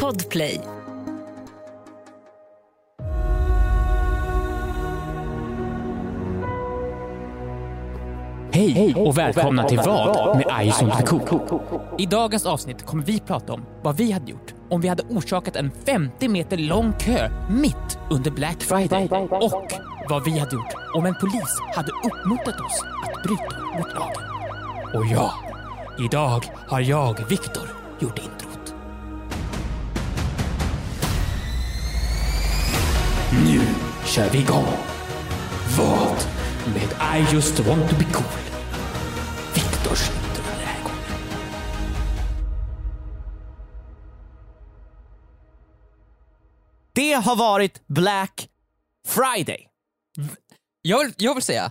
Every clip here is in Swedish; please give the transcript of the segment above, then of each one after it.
Podplay. Hej och välkomna till Vad med Ison the Cook. I dagens avsnitt kommer vi prata om vad vi hade gjort om vi hade orsakat en 50 meter lång kö mitt under Black Friday och vad vi hade gjort om en polis hade uppmuntrat oss att bryta mot lagen. Och ja, idag har jag, Viktor, gjort introt. Nu kör vi igång. Vad med I just want to be cool. Viktors intro den här gången. Det har varit Black Friday. Jag, jag vill säga,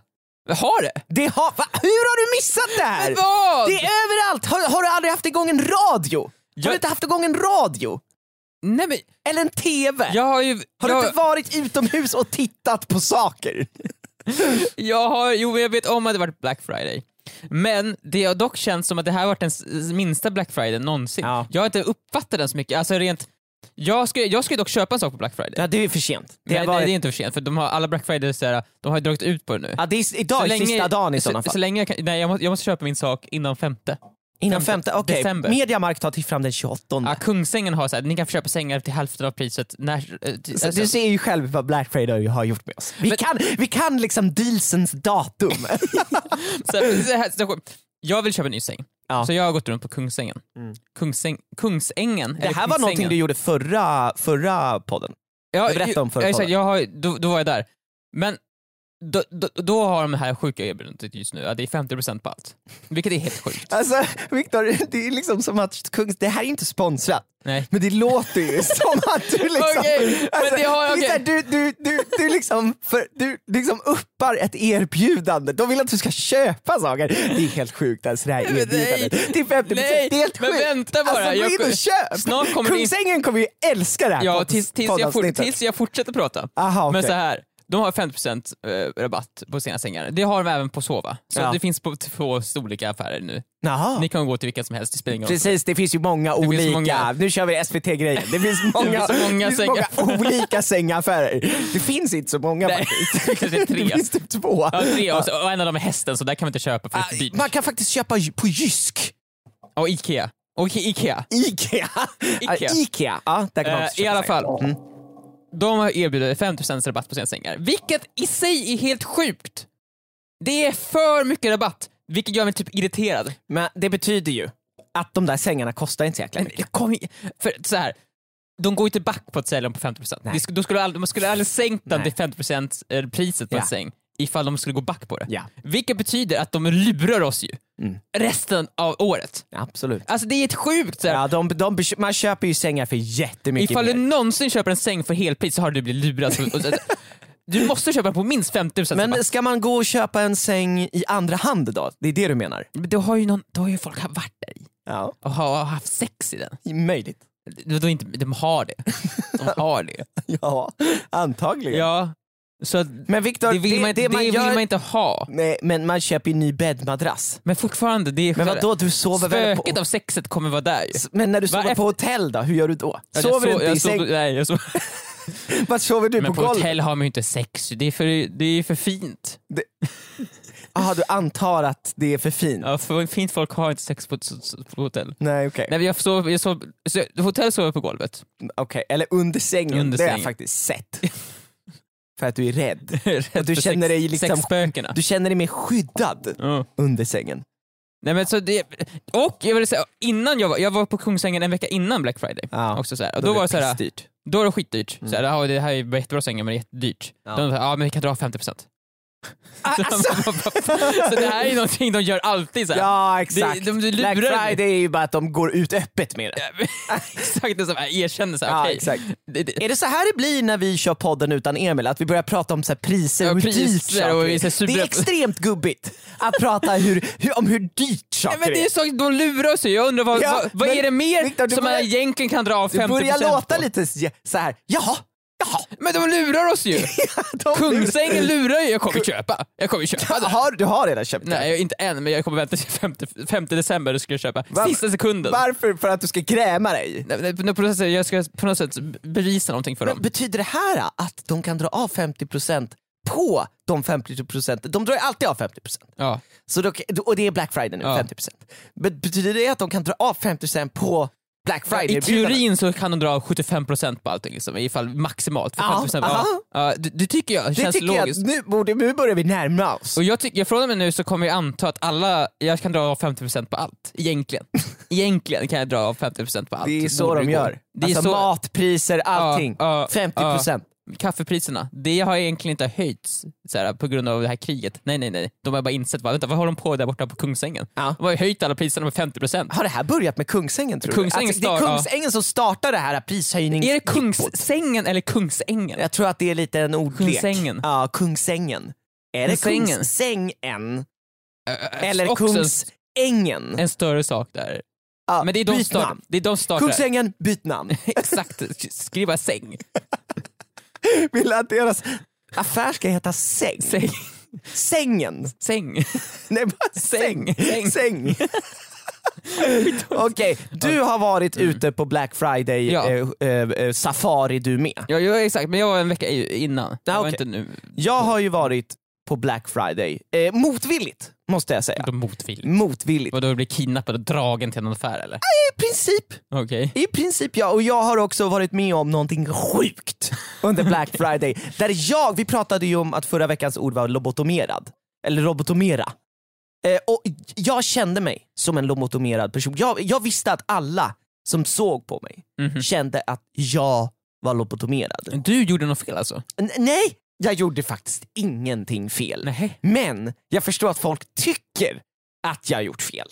har det? Det har, va? Hur har du missat det här? Men vad? Det är överallt! Har, har du aldrig haft igång en radio? Har Jag- du inte haft igång en radio? Nej men, Eller en TV? jag har ju... Har du jag, inte varit utomhus och tittat på saker? jag har, jo men jag vet om att det varit Black Friday. Men det har dock känts som att det här har varit den s- minsta Black Friday någonsin. Ja. Jag har inte uppfattat den så mycket, alltså rent... Jag skulle, jag skulle dock köpa en sak på Black Friday. Ja, det är för sent. Det Det, har nej, varit, det är inte för sent, för de har, alla Black Fridays så här, de har ju dragit ut på det nu. ja, det är idag, Så är sista dagen i sådana så, fall. så länge jag, kan, nej, jag, måste, jag måste köpa min sak innan femte. Innan femte, okej. december. Mediamarkt tar till fram den 28. Ja, Kungsängen har så här, ni kan få köpa sängar till hälften av priset när... eh, till- Så alltså- du ser ju själv vad Black Friday har gjort med oss. Vi, kan, vi kan liksom dealsens datum. Så här, så här situation. Jag vill köpa en ny säng, Ja. så jag har gått runt på Kungsängen. Kungsäng, Kungsängen, det här var någonting du gjorde förra, förra podden. ja, du berättade om förra ja, exakt, podden. jag har, då, då var jag där. Men då, då, då har de här sjuka erbjudandet just nu, att det är 50% på allt. Vilket är helt sjukt. Alltså Viktor, det är liksom som att Kungs, det här är inte sponsrat. Nej. Men det låter ju som att du liksom... Alltså, Okej, men det har- är okej. så här, du, du, du, du, liksom för, du du liksom uppar ett erbjudande. De vill att du ska köpa saker. Det är helt sjukt alltså det här men nej. erbjudandet. Det är 50 Nej, det är helt men sjukt. vänta bara, Alltså, jag- gå in och köp. snart kommer det in- Kungsängen kommer ju älska det här Ja, pod- tills, tills, jag, for, poddavsnittet. tills jag fortsätter prata. Aha, okej. Men så här, de har 50% eh, rabatt på sina sängar. Det har de även på Sova. Så Ja. det finns på två olika affärer nu. Jaha. Ni kan gå till vilken som helst, det spelar ingen roll. Precis, det finns ju många olika. många. Nu kör vi SVT-grejen. Det finns många, finns många det finns många olika sängaffärer. Det finns inte så många Nej, faktiskt. kanske tre. Det finns typ två. Ah, Ja, tre och, så, och en av dem är hästen, så där kan man inte köpa för det är för dyrt. Man kan faktiskt köpa ju- på Jysk. Och Ikea. Och Ike- Ikea. Ikea. Ja, Ikea. Ikea. Ja, där kan man Eh, också köpa I alla sängar. Mm. fall. De har erbjudit 50% rabatt på sina sängar, vilket i sig är helt sjukt. Det är för mycket rabatt, vilket gör mig typ irriterad. Men det betyder ju att de där sängarna kostar inte så jäkla Men mycket. jag kommer i- för så här, de går ju inte back på att sälja dem på 50%. Nej. Det sk- Då skulle aldrig, man skulle aldrig sänkt den Nej. till 50% eh, priset på en Ja. säng ifall de skulle gå back på det. Ja. Mm. Vilket betyder att de lurar oss ju resten av året. Absolut. Alltså det är ett sjukt så här, Ja, de, de, man köper ju sängar för jättemycket Ifall du mer. någonsin köper en säng för helpris så har du blivit lurad. Så- och så- Du måste köpa den på minst 5000 Men ska man gå och köpa en säng i andra hand då? Det är det du menar? då, har ju någon, då har ju folk varit där i Ja, och har haft sex i den. möjligt. Då, då inte, de har det. De har det. Ja, antagligen. Ja. Så att Men Viktor, det vill, man, det man vill gör... man inte ha. Nej, men man köper ju en ny bäddmadrass. Men fortfarande, det är Men själva- vadå, du sover väl på... Spöket av sexet kommer vara där ju. S- Men när du sover efter- på hotell då, hur gör du då? Jag sover du sov- inte jag i sov- säng? Nej, jag sov. Var sover du? Men på på golvet? hotell har man ju inte sex ju. det är för, det är för fint. Jaha, du antar att det är för fint? Ja, för fint folk har inte sex på, på hotell. Nej okej. Nej, men jag sov, jag sov, så jag- hotell sover jag på golvet. Okej, Eller under sängen, Under det har jag sängen. faktiskt sett. för att du är rädd. Rätt du för känner sex- dig liksom- Sexspökena. Du känner dig mer skyddad Ja. under sängen. Nej, men så det, och jag vill säga, innan jag var, jag var på Kungsängen en vecka innan Black Friday. Ja, Också så här. Och då, blir var det så här, pissdyrt. då var det skitdyrt. Så här, "Ja, det här är jättebra sängar men det är jättedyrt. Mm. Ja. De sa, ja men vi kan dra 50%. Ah, alltså, så det här är någonting de gör alltid så här. ja exakt. Det- de- de lurar Black dig. Friday är ju bara att de går ut öppet med det. Exakt, det som jag erkänner såhär, Ja, okej. exakt. Det, det, Är det så här det blir när vi kör podden utan Emil? Att vi börjar prata om så här priser Ja, och hur priser dyrt saker och är. så här super- Det är extremt gubbigt att prata hur, hur, om hur dyrt Nej, saker men det är är. så, de lurar oss ju. Jag undrar vad, Ja, vad, vad men är det mer Victor, du som man börjar- egentligen kan dra av 50% Det börjar låta på? lite s- så här. jaha, Men de lurar oss ju! De- Kungsängen lurar ju. Jag kommer köpa. Jag kommer köpa det. Har, du har redan köpt Nej, jag- inte än, men jag kommer vänta till 5, 5 december och ska jag köpa. Var- Sista det? sekunden. Varför? För att du ska gräma dig? Nej, nej, på något sätt- Jag ska på något sätt bevisa någonting för Men dem. betyder det här ah, att de kan dra av 50% på de 50%? De drar ju alltid av 50%. Ja. Så då, och det är Black Friday nu, Ja. 50%. Men betyder det att de kan dra av 50% på Black Friday? I teorin så kan de dra 75% på allting, liksom, ifall maximalt. Ja, 50%, aha. ja, ja, det, det tycker jag Det känns tycker jag, att logiskt. nu, borde, nu börjar vi närma oss. Och jag tycker, från och med nu så kommer jag anta att alla, jag kan dra av 50% på allt. Egentligen. Egentligen kan jag dra av 50% på allt. Det är så Borde de gå. gör. Det är alltså så, matpriser, allting. Ja, ja, 50%. Kaffepriserna, det har egentligen inte höjts så här, på grund av det här kriget. Nej nej nej, de har bara insett, bara, vänta vad har de på där borta på Kungsängen? Ja. De har ju höjt alla priserna med 50%. Har det här börjat med Kungsängen tror du? Kungsängen alltså, det är star- Kungsängen som startar det här prishöjnings... Är det Kungssängen eller Kungsängen? Jag tror att det är lite en ordlek. Kungsängen. Ja, Kungsängen. Är det Kungsängen? Kungsängen? Äh, Eller också en- Kungsängen? En större sak där. Ja, Men det är de, byt start, namn. det är de startar. Kungsängen, byt namn. Exakt, skriva säng. Vill att deras affär ska heta Säng? Säng. Sängen? säng. Nej, bara Säng. Säng. Säng. Säng. Okej, du har varit ute på Black Friday Mm. Ja. eh, eh, eh, safari du med. Ja, ja exakt, men jag var en vecka i- innan. Jag var okej. inte nu. Jag har ju varit på Black Friday, eh, motvilligt måste jag säga. De motvilligt. Motvilligt. Vadå, du blir kidnappad och dragen till en affär eller? I princip, Okej. i princip ja. Och jag har också varit med om någonting sjukt under Black Friday. Där jag, vi pratade ju om att förra veckans ord var lobotomerad. Eller lobotomera. Eh, och jag kände mig som en lobotomerad person. Jag, jag visste att alla som såg på mig Mhm. kände att jag var lobotomerad. Du gjorde något fel alltså? N- nej, jag gjorde faktiskt ingenting fel. Nej. Men jag förstår att folk tycker att jag har gjort fel.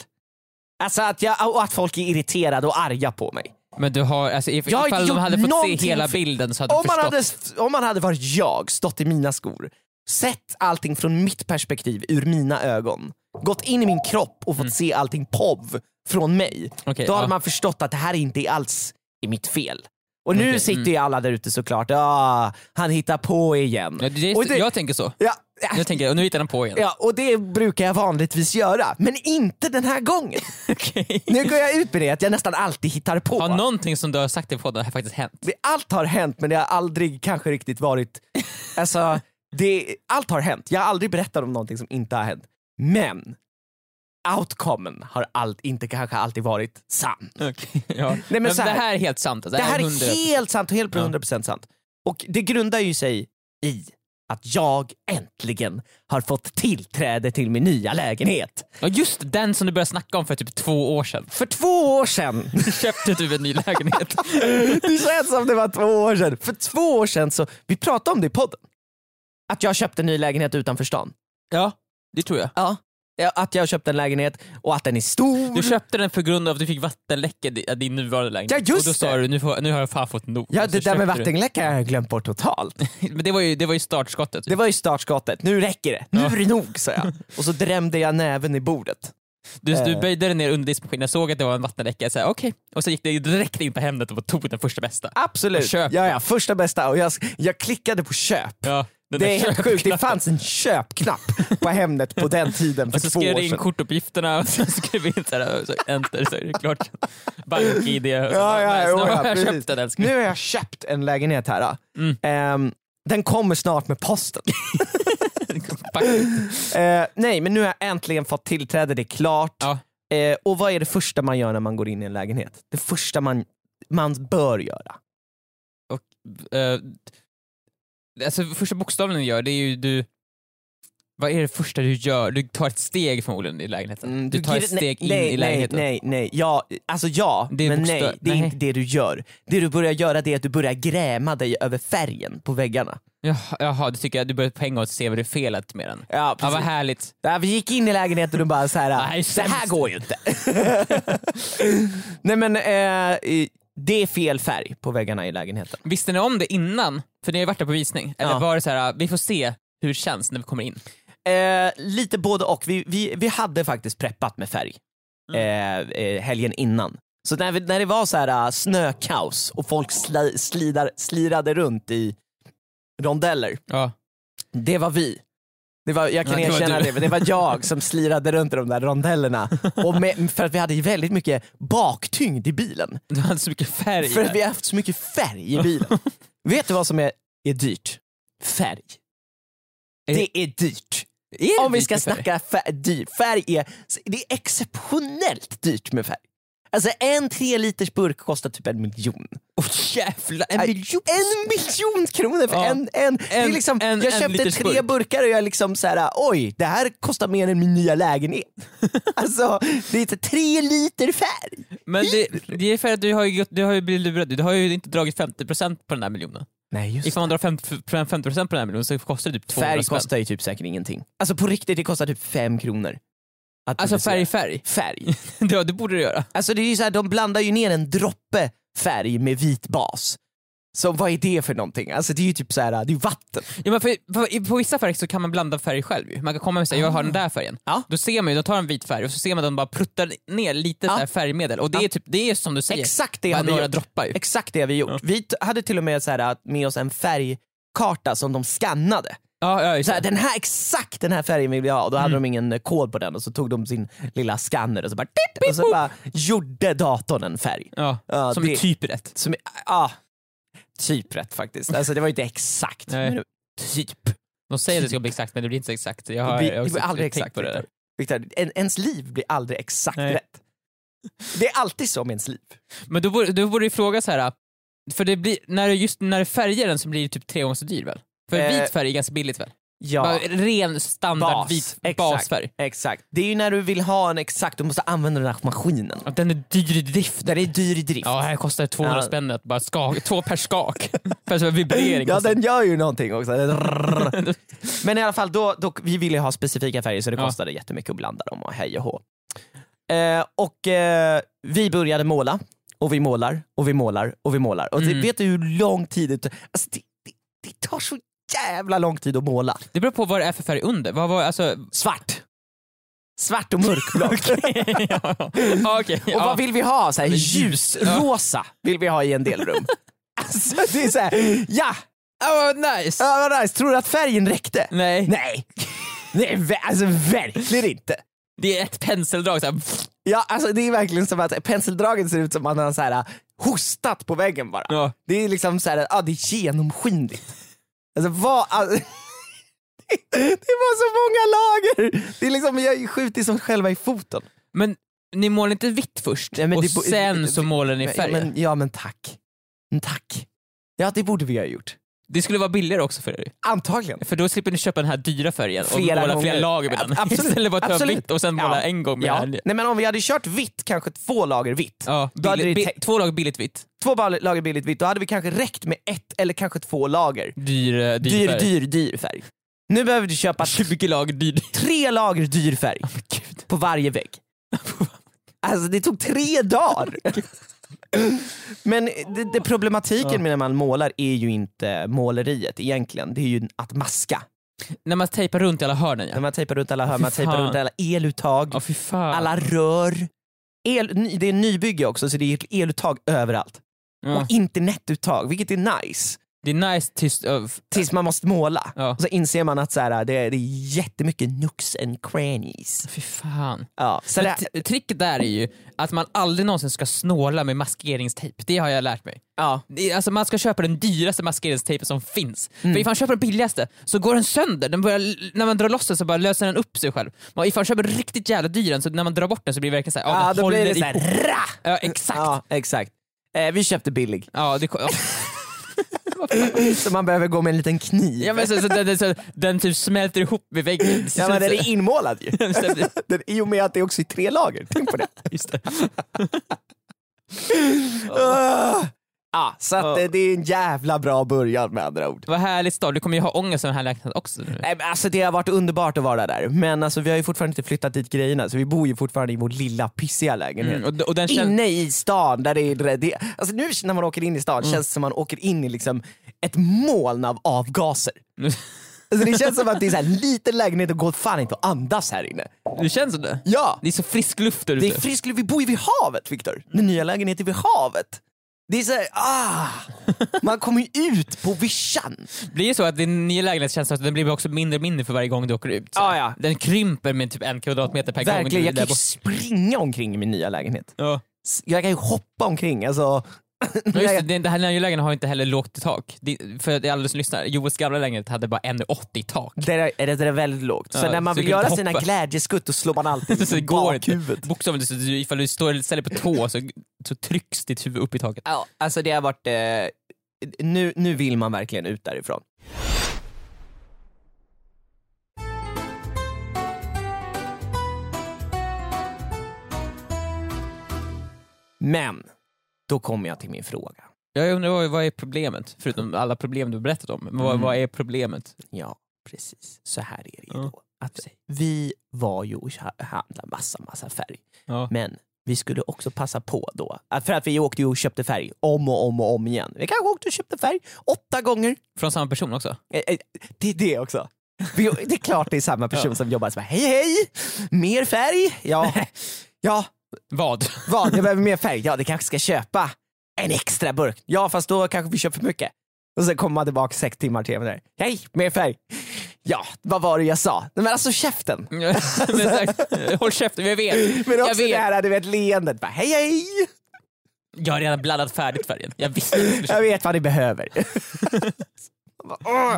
Alltså att, jag, och att folk är irriterade och arga på mig. Men du har, alltså if- Jag har ifall de gjort hade fått någonting se hela fel. bilden så hade Om du man, förstått. hade, om man hade varit jag, stått i mina skor, sett allting från mitt perspektiv, ur mina ögon, gått in i min kropp och fått se allting POV från mig, Mm. Okej, då hade ja. man förstått att det här inte är alls är mitt fel. Och nu Okej, mm. sitter ju alla där ute såklart, ah, han hittar på igen. Ja, det, Och är- det- Jag tänker så. ja, äh, Jag tänker, och nu hittar den på igen. Ja, och det brukar jag vanligtvis göra, men inte den här gången. Okej. Nu går jag ut med det att jag nästan alltid hittar på. Har någonting som du har sagt i podden har faktiskt hänt? Det- Allt har hänt men det har aldrig kanske riktigt varit... Alltså, det, allt har hänt. Jag har aldrig berättat om någonting som inte har hänt. Men outcomen har all, inte kanske alltid varit sann. Okej, ja. men så här- det här är helt sant. Alltså. Det här hundra- är helt sant och helt på Ja. 100% sant. Och det grundar ju sig i att jag äntligen har fått tillträde till min nya lägenhet. Ja, just det, den som du började snacka om för typ två år sedan. För två år sedan Köpte du en ny lägenhet? Det känns som det var två år sedan. För två år sedan, så, vi pratade om det i podden. Att jag köpte en ny lägenhet utanför stan. ja, det tror jag. Ja. Att jag köpte en lägenhet och att den är stor. Du köpte den för grund av att du fick vattenläcka i i din nuvarande lägenhet. Ja, just och då sa det. du, nu, får, nu har jag fan fått nog. ja, Och så det där med köpte du- vattenläcka har jag glömt bort totalt. Men det var ju, det var ju startskottet. Det var ju startskottet, nu räcker det. Nu är det nog sa jag. Och så drämde jag näven i bordet. Du, Eh. du böjde dig ner under diskmaskinen, jag såg att det var en vattenläcka, jag sa okej. Och så gick det direkt in på Hemnet och tog den första bästa. Absolut. Och köp. Ja, ja, första bästa. Och jag, jag klickade på köp. Ja, den Det där är helt sjukt, det köpknappen. fanns en köpknapp på Hemnet på den tiden för Och så två år skrev du in sedan. kortuppgifterna och sen skrev vi in så här, så enter, så är det klart. Bank-id. och så Ja, bara, ja, nice, jo, nu ja, har jag precis. köpt den älskling. Nu har jag köpt en lägenhet här. då. Mm. Ehm, den kommer snart med posten. Faktiskt. Eh, nej, men nu har jag äntligen fått tillträde, det är klart. Ja. Eh, och vad är det första man gör när man går in i en lägenhet? Det första man, man bör göra. Eh, alltså första bokstaven du gör, det är ju du... Vad är det första du gör? Du tar ett steg förmodligen i lägenheten. Mm, du, tar ger- ett steg nej, in nej, i lägenheten. Nej, nej, nej. Ja, alltså ja, Det är men bokstav- nej. Det är nej. inte det du gör. Det du börjar göra det är att du börjar gräma dig över färgen på väggarna. Jaha, jaha, du tycker att du börjar på en gång se vad det är felet med den. Ja, Ja, vad härligt. Ja, vi gick in i lägenheten och bara så här, Nej, det här sämst." går ju inte. Nej men eh, det är fel färg på väggarna i lägenheten. Visste ni om det innan? För ni har ju varit där på visning. Eller Ja. var det så här, vi får se hur det känns när vi kommer in. Eh, lite både och. Vi, vi, vi hade faktiskt preppat med färg Mm. eh, eh, helgen innan. Så när, vi, när det var så här eh, snökaos och folk sli, slidar, slirade runt i rondeller. Ja. Det var vi. Det var, jag kan Ja, det var erkänna du. det, men det var jag som slirade runt i de där rondellerna. Och med, för att vi hade väldigt mycket baktyngd i bilen. Du hade så mycket färg För där. att vi har haft så mycket färg i bilen. Vet du vad som är, är dyrt? Färg. Är- Det är dyrt. Är det Om vi dyrt ska med färg? snacka färg, dyr, färg är, det är exceptionellt dyrt med färg. Alltså en tre liters burk kostar typ en miljon. Åh jävlar, en miljon! En miljon kronor för Ja. en, en, det är En- liksom, en- Jag en köpte liters tre burk. burkar och jag liksom så här, oj det här kostar mer än min nya lägenhet. alltså det är inte tre liter färg. Men det, det är för att du har, ju, gått- du har ju blivit lurad. Du har ju inte dragit 50% på den här miljonen. Nej just Ifall man drar 50%, 50 på den här miljonen så kostar det typ 200 Färg spänn. kostar ju typ säkert ingenting. Alltså på riktigt, det kostar typ fem kronor. Att Alltså publicera. färg färg. Färg. ja, det borde du göra. Alltså det är ju så här, de blandar ju ner en droppe färg med vit bas. Så vad är det för någonting? Alltså det är ju typ så här, det är ju vatten. Ja, men för, för, i- på vissa färger så kan man blanda färg själv ju. Man kan komma med säga jag har den där färgen. Ah. Ja. Då ser man ju, då tar en vit färg och så ser man den bara pruttar ner lite Ja. så här färgmedel och det är typ, det är som du säger. Exakt det Bara har vi några gjort. droppar ju. Exakt det har vi gjort. Ja. Vi t- hade till och med så här, med oss en färgkarta som de skannade. Ja, ja, just Så här, det. den här, exakt den här färgen vill jag ha. Då hade Mm. de ingen eh, kod på den och så tog de sin lilla skanner och så bara, och så bara gjorde datorn en färg. Ja, Ja, som det- är typ rätt. Som, ja, typ rätt faktiskt. Alltså det var ju inte exakt. Nej. Men det- typ. De säger att det ska bli exakt men det blir inte så exakt. Jag Det har, blir, jag har det blir också aldrig tänkt exakt. typ. på det där. Viktor. Viktor, en, ens liv blir aldrig exakt Nej. rätt. Det är alltid så med ens liv. Men då borde, då borde ju fråga så här. äh, för det blir, när, det- just när det färgar den så blir det typ tre gånger så dyr väl? För Eh, vit färg är ganska billigt väl? Bara Ja, ren standard Bas, vit exakt. basfärg. exakt. Det är ju när du vill ha en exakt, du måste använda den här maskinen. Ja, Den är dyr i drift. Den är dyr i drift. Ja, här kostar det 200 Ja. spänn att bara skak, två per skak. för så här vibrering. Ja, kostar- den gör ju någonting också. Den rrrr. Men i alla fall, då, då, vi ville ju ha specifika färger så det Ja. kostade jättemycket att blanda dem och hej och hå. Eh, och eh, vi började måla och vi målar och vi målar och vi målar. Och det, Mm. vet du hur lång tid det tar? Alltså, det, det, det tar så jävla lång tid att måla. Det beror på vad det är för färg under. Vad var, alltså... Svart. Svart och mörkblått. ja, ja, okej. Och Ja. vad vill vi ha? Så här, ljus. ljusrosa vill vi ha i en del rum. alltså, det är så Mm. här, ja! Ja, vad nice! ja, vad nice. Tror du att färgen räckte? Nej. Nej, Nej ver- alltså verkligen inte. det är ett penseldrag. Så här. Ja, alltså det är verkligen som att penseldragen ser ut som att han har så här, äh, hostat på väggen bara. Ja. Det är liksom så här, ja det är genomskinligt. Alltså vad, alltså, det var så många lager! Det är liksom, jag skjuter som själva i foten. Men ni målar inte vitt först Nej, men och det bo- sen så målar ni Ja färgen? men, ja men tack. Mm, Tack. Ja det borde vi ha gjort. Det skulle vara billigare också för er. Antagligen. För då slipper ni köpa den här dyra färgen och Flera måla gånger. flera lager med den. Ab- absolut. Istället för att ta Absolut. vitt och sen måla Ja. en gång med Ja. den. här. Nej men om vi hade kört vitt, kanske två lager vitt. Ja, Då hade billigt- det bi- täckt. två lager billigt vitt. Två bal- lager billigt vitt, då hade vi kanske räckt med ett eller kanske två lager. Dyr, eh, dyr, Dyr, färg. dyr, dyr färg. Nu behöver du köpa 20 lager dyr. tre lager dyr färg Gud. på varje vägg. Alltså det tog tre dagar! Men det, det problematiken med när man målar är ju inte måleriet egentligen, det är ju att maska. När man tejpar runt i alla hörnen När ja. man tejpar runt alla hörn, fy man tejpar fan. runt alla eluttag, Ja fy fan. alla rör. El, ny- det är nybygge också så det är eluttag överallt. ja. Och internetuttag, vilket är nice. Det är nice tills... ö, f- Tills man måste måla. Ja. Och så inser man att så här, det, är, det är jättemycket nooks and crannies. Fy fan. Ja, så det, Men t- tricket där är ju att man aldrig någonsin ska snåla med maskeringstejp. Det har jag lärt mig. ja. Det är- Alltså man ska köpa den dyraste maskeringstejpen som finns. För Mm. ifall man köper den billigaste så går den sönder. Den börjar, när man drar loss den så bara löser den upp sig själv. Men ifall man köper den riktigt jävla dyr den så när man drar bort den så blir det verkligen såhär, ja, ja, den då håller blir det ihop. så här, ra! Ja exakt. Ja. Ja, exakt. Eh, vi köpte billig, det, ko- ja. så man behöver gå med en liten kniv. ja, men så, så, den, den- så, den typ smälter ihop med väggen. Ja, men den är inmålad ju. Så- så- Den, I och med att det också är tre lager, tänk på det. Just det. Ah. Ja, så att, Ja. eh, det är en jävla bra början med andra ord. Vad härligt stad, du kommer ju ha ångest av den här lägenheten också. nu. Nej, men Alltså det har varit underbart att vara där, men alltså, vi har ju fortfarande inte flyttat dit grejerna så vi bor ju fortfarande i vår lilla pissiga lägenhet. Mm, och, och den känns, Inne i stan där det är... Det, alltså nu när man åker in i stan Mm. känns det som man åker in i liksom ett moln av avgaser. Alltså det känns som att det är så här, en liten lägenhet och går fan inte att andas här inne. det känns som det. Ja, Det är så frisk luft där det ute. Mm. är frisk luft. Vi bor ju vid havet Viktor. Den nya lägenheten är vid havet. Det är såhär, ah! Man kommer ju ut på vischan. Blir det så att din nya lägenhet känns att den blir också mindre och mindre för varje gång du åker ut? så Ja, här? ja. Den krymper med typ en kvadratmeter per gång. Verkligen, du jag kan är där ju springa omkring i min nya lägenhet. borta. Ja. S- Jag kan ju hoppa omkring. Alltså, Ja, just det, den- den här nya lägenheten har inte heller lågt i tak. Det, för att alla som lyssnar, Joels gamla lägenhet hade bara 1,80 i tak. det, är, det där är väldigt lågt. Så Ja, när man så vill du kan göra inte sina hoppa. glädjeskutt då slår man Så alltid det i går inte. bakhuvudet. Bokstavligt så du- ifall du står, ställer på tå så, så trycks ditt huvud upp i taket. Ja, alltså det har varit... Eh, nu, nu vill man verkligen ut därifrån. Men, då kommer jag till min fråga. Jag undrar vad, vad är problemet? Förutom alla problem du berättat om. Men Mm. vad, vad är problemet? Ja, precis. Så här är det ju Ja. då. Att vi var ju och ha- handlade massa, massa färg. Ja. Men vi skulle också passa på då. Att- För att vi åkte ju och köpte färg om och om och om igen. Vi kanske åkte och köpte färg åtta gånger. Från samma person också? Eh, eh, Det är det också. Vi- Det är klart det är samma person som jobbar som bara, hej hej, mer färg. Ja, ja Vad? vad, jag behöver mer färg. Ja, det kanske ska köpa en extra burk. Ja, fast då kanske vi köper för mycket. Och sen kommer man tillbaka sex timmar till där. Hej, mer färg. Ja, vad var det jag sa? Nej, Men alltså käften. Men exakt. Håll käften, jag vet. Men jag också det vet. här, du vet leendet. Bara, hej hej, Jag har redan blandat färdigt färgen. Jag visste att du skulle jag vet vad ni behöver. Man bara, "Åh."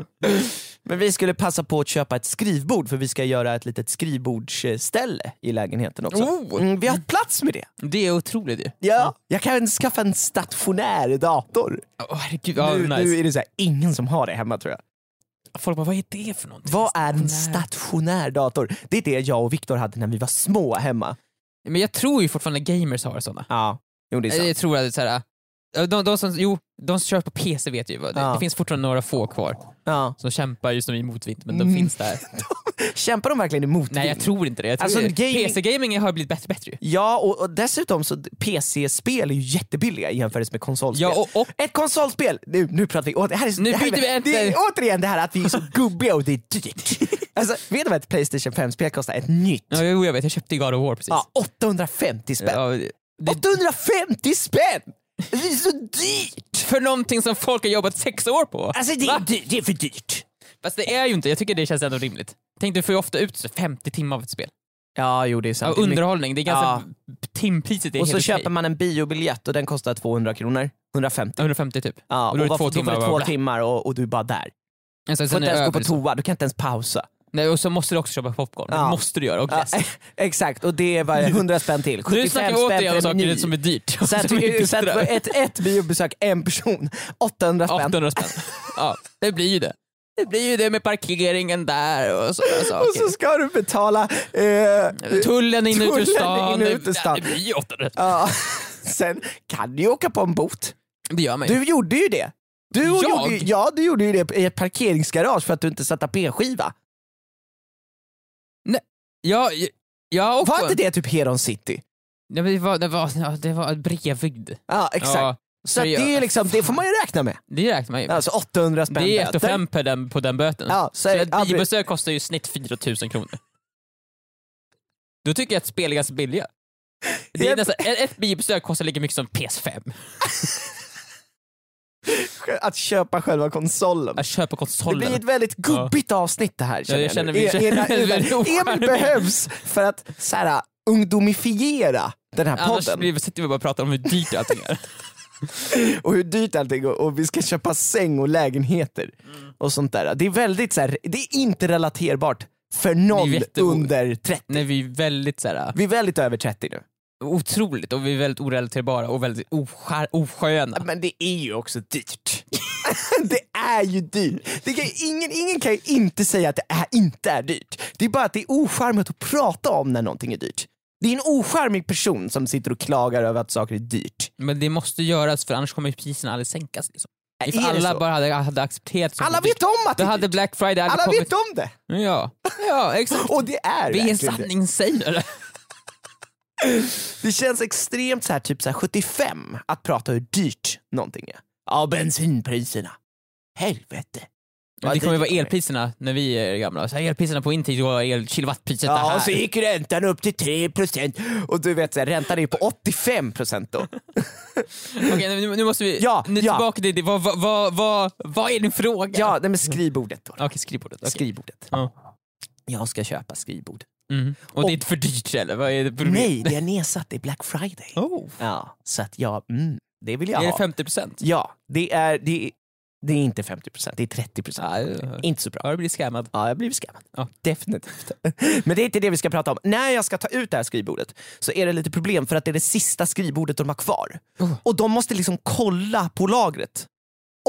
Men vi skulle passa på att köpa ett skrivbord för vi ska göra ett litet skrivbordsställe i lägenheten också. Oh. Mm, vi har plats med det. Det är otroligt ju. Ja, jag kan skaffa en stationär dator. Åh, herregud, ja, nu, nice. nu är det så här, ingen som har det hemma tror jag. Folk bara, vad är det för någonting? Vad är en Stationär. stationär dator? Det är det jag och Viktor hade när vi var små hemma. Men jag tror ju fortfarande gamers har sådana. Ja, jo det är sant. Jag tror att såhär, de, de, som, jo, de som kör på PC vet ju vad det, Ja. det finns fortfarande några få kvar Ja. som kämpar just nu i motvind, men de Mm. finns där. Kämpar de verkligen emot Nej jag vind? tror inte det. Jag tror Alltså, det. gaming- PC-gaming har blivit bättre bättre ju. Ja, och, och dessutom så PC-spel är ju jättebilliga i jämförelse med konsolspel. Ja, och, och Ett konsolspel! Nu, nu pratar vi, åh, det här är, så- Nu det här byter vi är, ämne. det är återigen det här att vi är så gubbiga och det är dyrt. Alltså, vet du vad ett Playstation 5-spel kostar? Ett nytt? Ja, jo, jag vet, jag köpte God of War precis. Ja, 850 spänn. Ja, det- 850 spänn! Det är så dyrt! för någonting som folk har jobbat sex år på. Alltså det är, dyrt, det är för dyrt. Fast det är ju inte, jag tycker det känns ändå rimligt. Tänk du får ju ofta ut så 50 timmar av ett spel. Ja, jo det är Ja, sant. underhållning, det är ganska... Timpriset är och helt så okej. köper man en biobiljett och den kostar 200 kronor. 150. 150 typ. Ja, och då är det varför- två då får timmar. du bara- två timmar och, och du är bara där. Men sen- Du får sen är inte det ens gå på över, liksom. så. toa, du kan inte ens pausa. Nej, och så måste du också köpa popcorn. Ja. Det måste du göra. Och Ja, glass. exakt, och det var 100 spänn till. Alltså. nu 75 snackar spänn vi återigen om för en saker meny. som är dyrt. Så att, Som inte så att strör. för ett, ett biobesök, en person, 800 spänn. 800 spänn. Ja, det blir ju det. Det blir ju det med parkeringen där och sådana Och saker. så ska du betala... Eh, Tullen in och ut Tullen ur stan. in och ut ur stan. Det blir ju 800. ja. Sen kan du ju åka på en bot. Det gör man ju. Du gjorde ju det. Du Jag? Gjorde ju, ja, du gjorde ju det i ett parkeringsgarage för att du inte satte p-skiva. Ja, ja och... Var inte det typ Heron City? Nej, men det var, det var, ja, det var bredvid. Ja, exakt. Ja, så att det, är liksom, det får man ju räkna med. det räknar man ju. Alltså 800 spänn det är böter. 1 5 på den, på den böten. Ja, så så är det ett aldrig- biobesök kostar ju i snitt 4000 kronor. Då tycker jag att spel är ganska billiga. Det är Ett- nästan, ett, ett biobesök kostar lika mycket som PS5. Att köpa själva konsolen. Att köpa Det konsolen. blir ett väldigt gubbigt avsnitt det här känner jag jag, känner nu. mig- E- känner era- mig era- väldigt Emil ocharmig. behövs för att så här, ungdomifiera den här Annars podden blir, sitter vi bara och pratar om hur dyrt allting är. och hur dyrt allting är och vi ska köpa säng och lägenheter Mm. och sånt där. Det är väldigt så här, det är inte relaterbart för någon jätte- under 30. Nej, vi är väldigt så här, Vi är väldigt över 30 nu. otroligt och vi är väldigt orelaterbara och väldigt oskär, osköna. Men det är ju också dyrt. det är ju dyrt. Det kan, ju- ingen, ingen kan ju inte säga att det är, inte är dyrt. Det är bara att det är ocharmigt att prata om när någonting är dyrt. Det är en ocharmig person som sitter och klagar över att saker är dyrt. Men det måste göras för annars kommer ju priserna aldrig sänkas. Liksom. If är det alla så? bara hade, hade accepterat som Alla dyrt, vet om att det Då är hade dyrt. Black Friday aldrig Alla kommit. vet om det. Ja, ja exakt. Och det är Vi är verkligen det. sanningssägare. Det känns extremt så här, typ så här 75 att prata hur dyrt någonting är. Ja, bensinpriserna. Helvete. Men det kommer ju vara elpriserna när vi är gamla. Så här, elpriserna på min tid var el, kilowattpriset det Ja, här. och så gick räntan upp till 3% och du vet, så här, räntan är ju på 85% då. Okej, nu, nu måste vi... Ja, nu ja. tillbaka till det. Vad, vad, vad, vad, vad är din fråga? Ja, nej, men skrivbordet då. Okej, skrivbordet. Okej. Skrivbordet. Ja. Jag ska köpa skrivbord. Mm. Och det är för dyrt eller? Vad är det för Nej, det är nedsatt. Det är Black Friday. Mm. Oh. Ja, så att jag, mm, det vill jag Är det ha. 50 procent? Ja, det är, det, är- det är inte 50%, det är 30%. Ja, Inte så bra. Har du blivit scammad? Ja, jag blev skammad. Ja. Definitivt. Men det är inte det vi ska prata om. När jag ska ta ut det här skrivbordet så är det lite problem för att det är det sista skrivbordet de har kvar. Oh. Och de måste liksom kolla på lagret.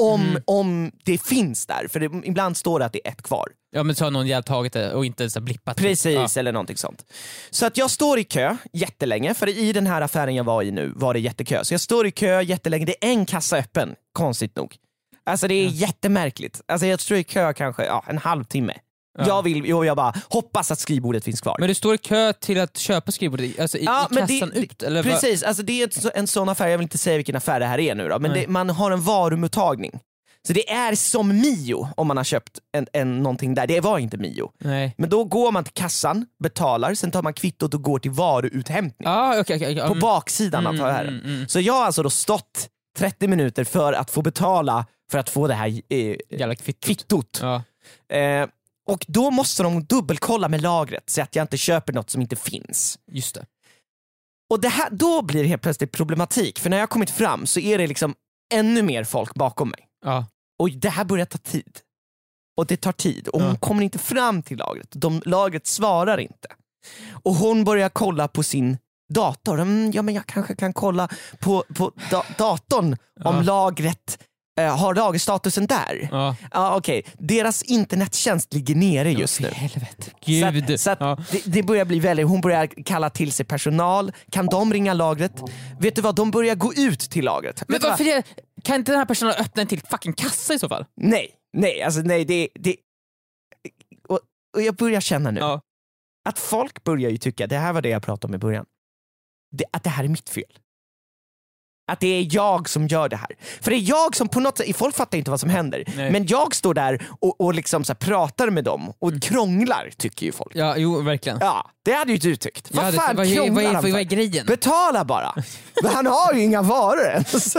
Om, Mm. om det finns där, för det, ibland står det att det är ett kvar. Ja men så har någon jävel tagit det och inte så här blippat det. Precis, eller någonting sånt. Så att jag står i kö jättelänge, för i den här affären jag var i nu var det jättekö. Så jag står i kö jättelänge, det är en kassa öppen, konstigt nog. Alltså det är Mm. jättemärkligt. Alltså jag står i kö kanske ja, en halvtimme. Jag vill, och jag bara hoppas att skrivbordet finns kvar. Ja. Men du står i kö till att köpa skrivbordet, alltså i, Ja, i men kassan det- ut? Eller vad- Precis, alltså det är ett så- en sån affär, jag vill inte säga vilken affär det här är nu då, men det, man har en varumottagning. Så det är som Mio om man har köpt en, en, någonting där, det var inte Mio. Nej. Men då går man till kassan, betalar, sen tar man kvittot och går till varuuthämtning. Ah, okej, okej, okej. På Mm. baksidan av affären. mm, mm. Så jag har alltså då stått 30 minuter för att få betala för att få det här eh, Jävla kvittot. kvittot. Ja. Eh, och då måste de dubbelkolla med lagret så att jag inte köper något som inte finns. Just det. Och det här, då blir det helt plötsligt problematik, för när jag kommit fram så är det liksom ännu mer folk bakom mig. Ja. Och det här börjar ta tid. Och det tar tid. Och hon Ja. kommer inte fram till lagret. De, lagret svarar inte. Och hon börjar kolla på sin dator. Mm, ja men jag kanske kan kolla på, på da- datorn om Ja. lagret eh, har lagerstatusen där. Ja. ja. Okej, deras internettjänst ligger nere just nu. Helvete. Så Gud. att, så att ja. det, det börjar bli väldigt, hon börjar kalla till sig personal, kan de ringa lagret? Vet du vad, de börjar gå ut till lagret. Men Vet du vad? varför är, kan inte den här personen öppna en till fucking kassa i så fall? Nej, nej, alltså nej, det... det och, och jag börjar känna nu Ja. att folk börjar ju tycka, det här var det jag pratade om i början, det, att det här är mitt fel. Att det är jag som gör det här. För det är jag som på något sätt, folk fattar inte vad som händer, Nej. men jag står där och, och liksom så här pratar med dem och krånglar tycker ju folk. Mm. Ja, jo verkligen. Ja, det hade ju du tyckt. Ja, Vad det- fan vad, är- krånglar vad, är- han vad, är- vad är för? grejen? Betala bara! Men Han har ju inga varor ens.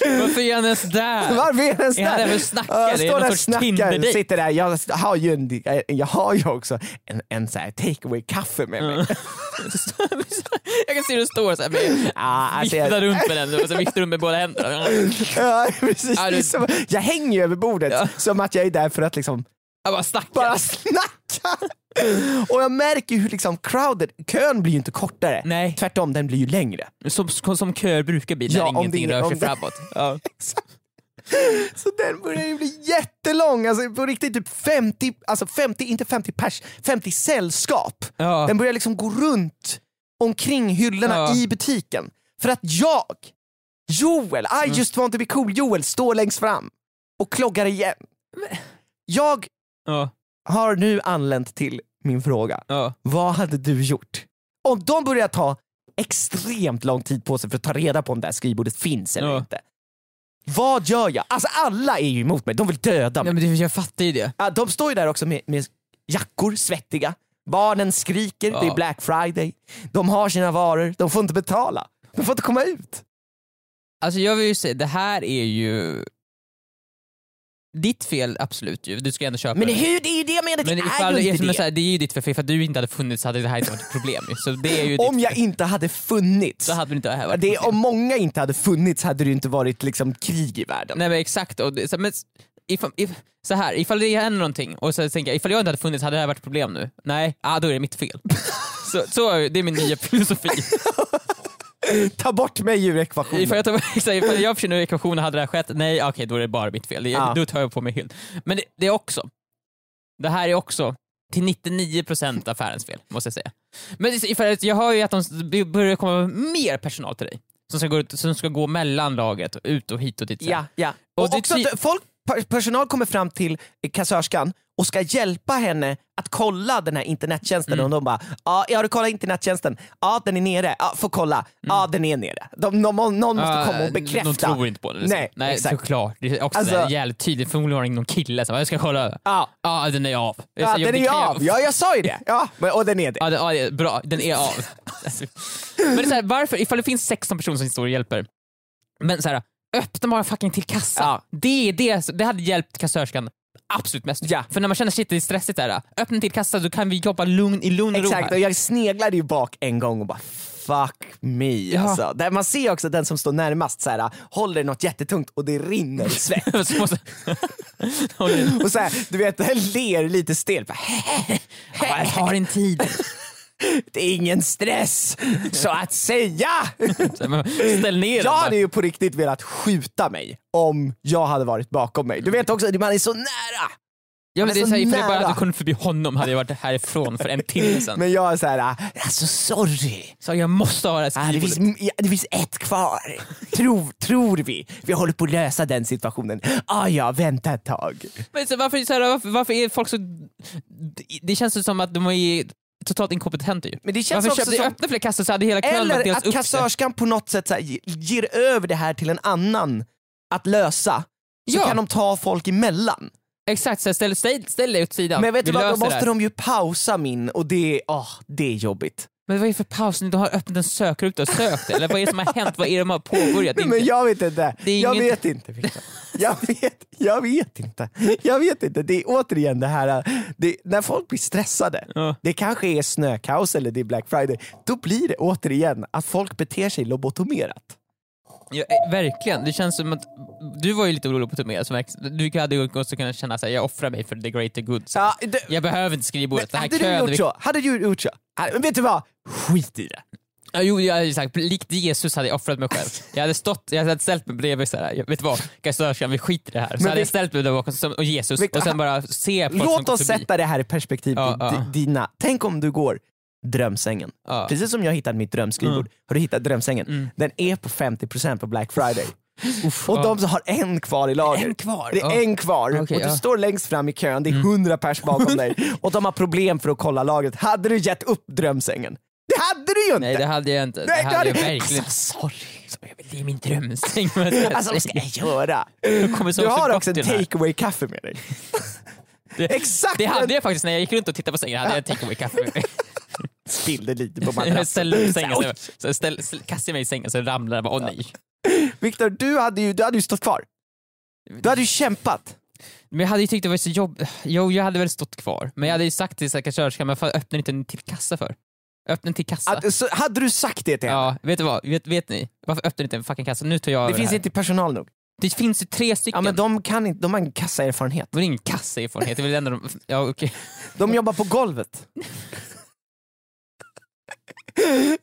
Varför är han ens där? Varför är den Är han där sådär? för att snacka? Ja, Jag Det är står någon där och sorts snackar, Tinder-date. sitter där. Jag har ju, en, jag har ju också en, en så här take away kaffe med Mm. mig. jag kan se hur du står såhär med Ja, alltså viftar jag, runt med den och så viftar du med båda händerna. ja, precis, Ja, du- det är som, jag hänger ju över bordet Ja. som att jag är där för att liksom Jag bara snackar. bara snacka. Och jag märker ju hur liksom crowded, kön blir ju inte kortare. Nej. Tvärtom, den blir ju längre. Som, som, som köer brukar bli när Ja, om ingenting det- rör om sig det- framåt. Ja. Så den börjar ju bli jättelång, alltså på riktigt typ 50, alltså 50, inte 50 pers, 50 sällskap. Ja. Den börjar liksom gå runt omkring hyllorna Ja. i butiken. För att jag, Joel, I Mm. just want to be cool Joel, står längst fram och kloggar igen. Jag Ja. har nu anlänt till min fråga. Ja. Vad hade du gjort? Om de börjar ta extremt lång tid på sig för att ta reda på om det här skrivbordet finns eller Ja. inte. Vad gör jag? Alltså alla är ju emot mig, de vill döda mig. Nej, men det- jag fattar ju det. Ja, de står ju där också med, med jackor, svettiga. Barnen skriker, det Ja. är Black Friday. De har sina varor, de får inte betala. De får inte komma ut. Alltså jag vill ju säga, det här är ju... Ditt fel, absolut ju. Du ska ändå köpa Men den. hur, det är ju det jag menar, det Men är ifall, ju inte eftersom det. jag säger, det är ju ditt fel, för ifall du inte hade funnits hade det här inte varit ett problem. ju. Så det är ju om ditt jag fel. inte hade funnits, Så hade det inte det här varit det, ett problem. om många inte hade funnits hade det ju inte varit liksom krig i världen. Nej men exakt, och det, så, men, s- ifall, if, så här, ifall det händer någonting och så tänker jag, ifall jag inte hade funnits hade det här varit ett problem nu? Nej, ah, då är det mitt fel. så, så är det är min nya filosofi. Ta bort mig ur ekvationen. Ifall jag, tar, exakt, ifall jag försvinner ur ekvationen, hade det här skett? Nej, okej då är det bara mitt fel. Det, Ja. Då tar jag på mig hyll. Men det, det är också, det här är också till 99% affärens fel, måste jag säga. Men ifall, jag hör ju att de s- det börjar komma mer personal till dig, som ska gå, ut- som ska gå mellan lagret, ut och hit och dit. sen. Ja, ja. Och Och, det också ty- att folk per- personal kommer fram till eh, kassörskan och ska hjälpa henne att kolla den här internettjänsten Mm. och de bara ah, “Har du kollat internettjänsten? Ja, den är nere. Ah, får kolla. Ja, Mm. den är nere.” de, de, Någon Ah, måste komma och De bekräfta. tror inte på det. Liksom. Nej, Nej, exakt. såklart. Det är också Alltså- alltså, jävligt tydligt. Förmodligen var det någon kille som bara, jag ska kolla över. Ja. Ja, den är av. Det Ja, så- den det är ju kan jag- av! Ja, jag sa ju det! Ja, men, och den är det. Ja, det, ja, det är bra. Den är av. men det är så här, varför, ifall det finns 16 personer som står och hjälper, men så här, öppna bara fucking till kassa. Ja. Det, är det, det hade hjälpt kassörskan absolut mest. Ja. För när man känner shit det är stressigt där, öppna till kassa då kan vi jobba lugn, i lugn och ro Exakt, och här. jag sneglade ju bak en gång och bara fuck me alltså. Där man ser också den som står närmast så här, håller i något jättetungt och det rinner svett. Så måste- Okej. och så här, du vet, ler lite stelt. Bara, Ja, Jag har en tid. Det är ingen stress, så att säga! Så här, men Ställ ner Jag den. hade bara. ju på riktigt velat skjuta mig om jag hade varit bakom mig. Du vet också, man är så nära! Ja, men är det är så så här, ifall jag bara Alltså, nära. hade kunnit förbi honom hade jag varit härifrån för en timme sedan. Men jag är så här, alltså sorry. Så jag måste ha det här Ah, det, skrivbordet. finns, ja, det finns ett kvar, tror, tror vi. Vi håller på att lösa den situationen. Ah, ja, vänta ett tag. Men så varför, så här, varför, varför är folk så... det- Det känns ju som att de är totalt inkompetenta ju. Men det känns varför också köpte som- öppna fler kassor så hade hela kvällen varit Eller deras att upp sig. kassörskan på något sätt så här, ge- ger över det här till en annan att lösa. Så Ja. kan de ta folk emellan. Exakt, så här, ställ, ställ, ställ dig åt sidan. Men vet Vi du vad, då löser det måste här. de ju pausa min och det, ah, det är jobbigt. Men vad är det för paus? De har öppnat en sökruta och sökt eller vad är det som har hänt? Vad är det de har påbörjat? Inte. Men jag vet inte. Det är jag inget- vet inte. Victor. Jag vet, jag vet inte. Jag vet inte. Det är återigen det här, det, när folk blir stressade, Ja. det kanske är snökaos eller det är Black Friday, då blir det återigen att folk beter sig lobotomerat. Ja, eh, verkligen, det känns som att du var ju lite orolig på Tomé, som verk- du hade ju också kunnat känna att jag offrar mig för the greater good. Så Ja, det, Jag behöver inte skrivbordet, det här hade du kön... gjort så? Hade du gjort så? Ja, Men vet du vad? Skit i det. Ja, jo, jag hade ju sagt, likt Jesus hade jag offrat mig själv. Jag hade, stått, jag hade ställt mig bredvid så här. Jag, vet du vad, kassörskan vi skiter i det här. Men Så hade vi- jag ställt mig där bakom som- och Jesus Men- och sen bara se folk som Låt går oss förbi. sätta det här i perspektiv. Ja, di- ja. Dina, tänk om du går drömsängen. Ja. Mm. Precis som jag hittade mitt drömskrivbord, har du hittat drömsängen. Den är på 50% på Black Friday. och de som har en kvar i lager. En kvar? Det är Ja. en kvar Okej, och du ja. Mm. står längst fram i kön, det är 100 pers bakom dig och de har problem för att kolla lagret. Hade du gett upp drömsängen? Det hade du ju inte! Nej det hade jag inte. Nej, det du hade jag hade- verkligen Alltså sorry. inte. Det är min drömsäng. vad ska jag Alltså vad ska säga? jag göra? Jag kommer sova Du så har gott också i en den här. takeaway kaffe med dig. Det, Exakt! det hade jag faktiskt när jag gick runt och tittade på sängen. hade jag en takeaway kaffe. Spillde lite på Jag ställde madrassen. upp sängen, Så här, så, jag- så jag ställ, ställ, kastade jag mig i sängen så ramlade jag bara, åh nej. oj. Viktor, du hade ju du hade ju stått kvar. Du hade ju kämpat. Men jag hade ju tyckt det var så jobbigt. Jo, jag hade väl stått kvar. Men jag hade ju sagt till kassörskan, men fan öppnar inte en till kassa för? Öppna en till kassa. Att, så, hade du sagt det till henne? Ja, vet du vad? Vet, vet ni? Varför öppnar ni inte en fucking kassa? Nu tar jag Det över finns här. inte personal nog. det finns ju tre stycken. Ja, men de, kan inte, de har ingen kassaerfarenhet. det är ingen kassaerfarenhet, det är väl ändå de... Ja, okej. De jobbar på golvet.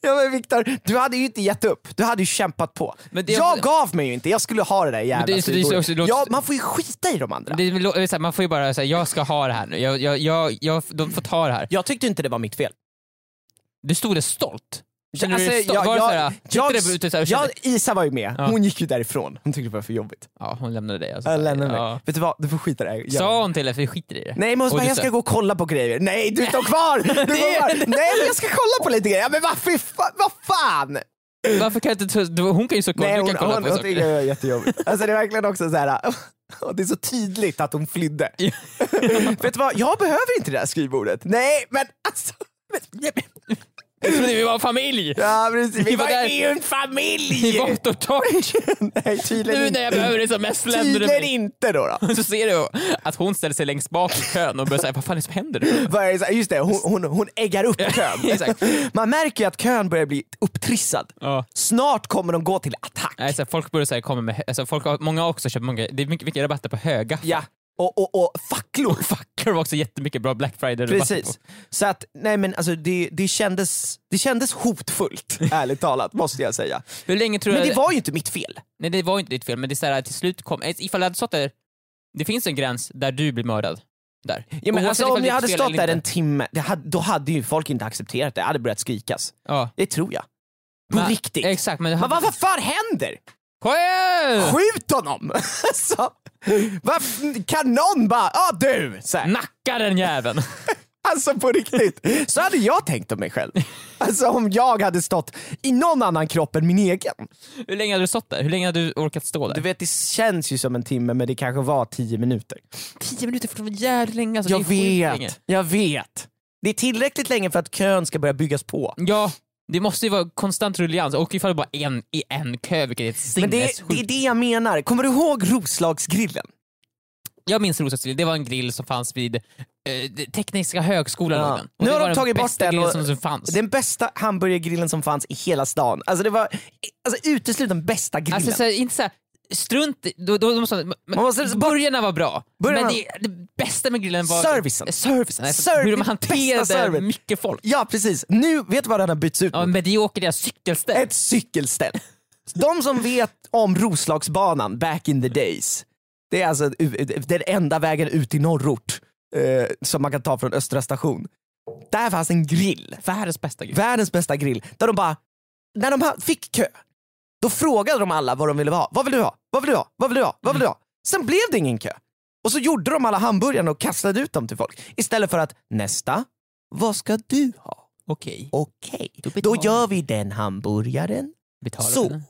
Ja men Viktor, du hade ju inte gett upp. Du hade ju kämpat på. Men det- jag gav mig ju inte, jag skulle ha det där jävla det är så- det är så- skrivbordet. också- låt- ja, Man får ju skita i de andra. Det är väl- det är så här, Man får ju bara säga, jag ska ha det här nu. Jag, jag, jag, jag, de får ta det här. Jag tyckte inte det var mitt fel. Du stod där stolt. Känner du Alltså, dig stolt? jag- Var det jag- så här, jag- tittade du ute så här och jag- kände- Isa var ju med, Ja. hon gick ju därifrån. Hon tyckte det var för jobbigt. Ja, hon lämnade dig alltså. Jag lämnar mig. Ja. Vet du vad, du får skita i det här. Jag- Sa hon till dig, för vi skiter i det? Nej men hon Och bara, du jag sa- ska gå och kolla på grejer. Nej du står kvar! Du går kvar. Nej men jag ska kolla på lite grejer. Ja, Men vad fy fa- vad fan! Varför kan jag inte... tro- Hon kan ju stå kvar, Nej du hon, kan hon, kolla hon, på saker. tycker det är jättejobbigt. Alltså det är verkligen också så här. och det är så tydligt att hon flydde. Vet du vad, jag behöver inte det här skrivbordet. Nej men alltså. men- Jag trodde vi var en familj! Ja precis, vi var var där- ju en familj! I vått och torrt! Nej tydligen Nu när inte. jag behöver det som mest lämnar du Tydligen mig. inte då. då. Så ser du att hon ställer sig längst bak i kön och börjar säga, vad fan är det som händer? nu?" Vad är det så här, Just det, hon, hon, hon äggar upp kön. Exakt. Man märker ju att kön börjar bli upptrissad. Ja. Snart kommer de gå till attack. Nej, så här, folk börjar så här, komma med, hö- alltså, folk har, många har också köpt många, det är mycket, mycket rabatter på höga. Ja. Och, och, och facklor. Fucker var också jättemycket bra Black Friday Precis. Så att, nej men alltså det, det, kändes, det kändes hotfullt, ärligt talat, måste jag säga. Hur länge tror Men du... det var ju inte mitt fel. Nej det var ju inte ditt fel, men det är så här, till slut kom... Eh, Ifall du hade stått där, det finns en gräns där du blir mördad. Där. Ja, men Oavsett alltså, ifall om det är jag hade fel stått eller där inte. en timme, det hade, då hade ju folk inte accepterat det, det hade börjat skrikas. Ja. Det tror jag. På Men- riktigt. Exakt, men, Men vad vad fan händer? Joel! Skjut honom! så, varför, kan någon bara, ja ah, du! Så här. Nacka den jäveln! Alltså på riktigt, så hade jag tänkt om mig själv. Alltså om jag hade stått i någon annan kropp än min egen. Hur länge hade du stått där? Hur länge hade du orkat stå där? Du vet det känns ju som en timme men det kanske var tio minuter. tio minuter för det var jävligt länge. Alltså, Jag det är skitlänge. vet, jag vet. Det är tillräckligt länge för att kön ska börja byggas på. Ja, det måste ju vara konstant rullians och ifall det bara är en i en kö vilket är ett Men det, är- sinnessjukt. det är det jag menar. Kommer du ihåg Roslagsgrillen? Jag minns Rosas grill, det var en grill som fanns vid eh, Tekniska högskolan. Ja. låg den. Och Nu det har var de tagit bort bästa den grillen och- Som, som fanns. Den bästa hamburgergrillen som fanns i hela stan. Alltså det var alltså, uteslutande bästa grillen. Alltså, så här, inte så här, strunt i- då, då, då måste man, men, Man måste- Burgarna var bra, Börjarna- men det, det bästa med grillen var Servicen. servicen alltså, Serv- hur de det hanterade bästa service. mycket folk. Ja precis, nu, vet du vad den har bytts ut Ja, mot? medioker deras cykelställ. Ett cykelställ. De som vet om Roslagsbanan back in the days, det är alltså u- den enda vägen ut till norrort eh, som man kan ta från Östra station. Där fanns en grill, Världens bästa grill. världens bästa grill, där de bara, när de ha- fick kö, då frågade de alla vad de ville ha. Vad vill du ha? Vad vill du ha? Vad vill du ha? Vad vill du ha? Sen blev det ingen kö. Och så gjorde de alla hamburgarna och kastade ut dem till folk. Istället för att, nästa, vad ska du ha? Okej, Okej, då betalar gör vi den hamburgaren betala Så. för den.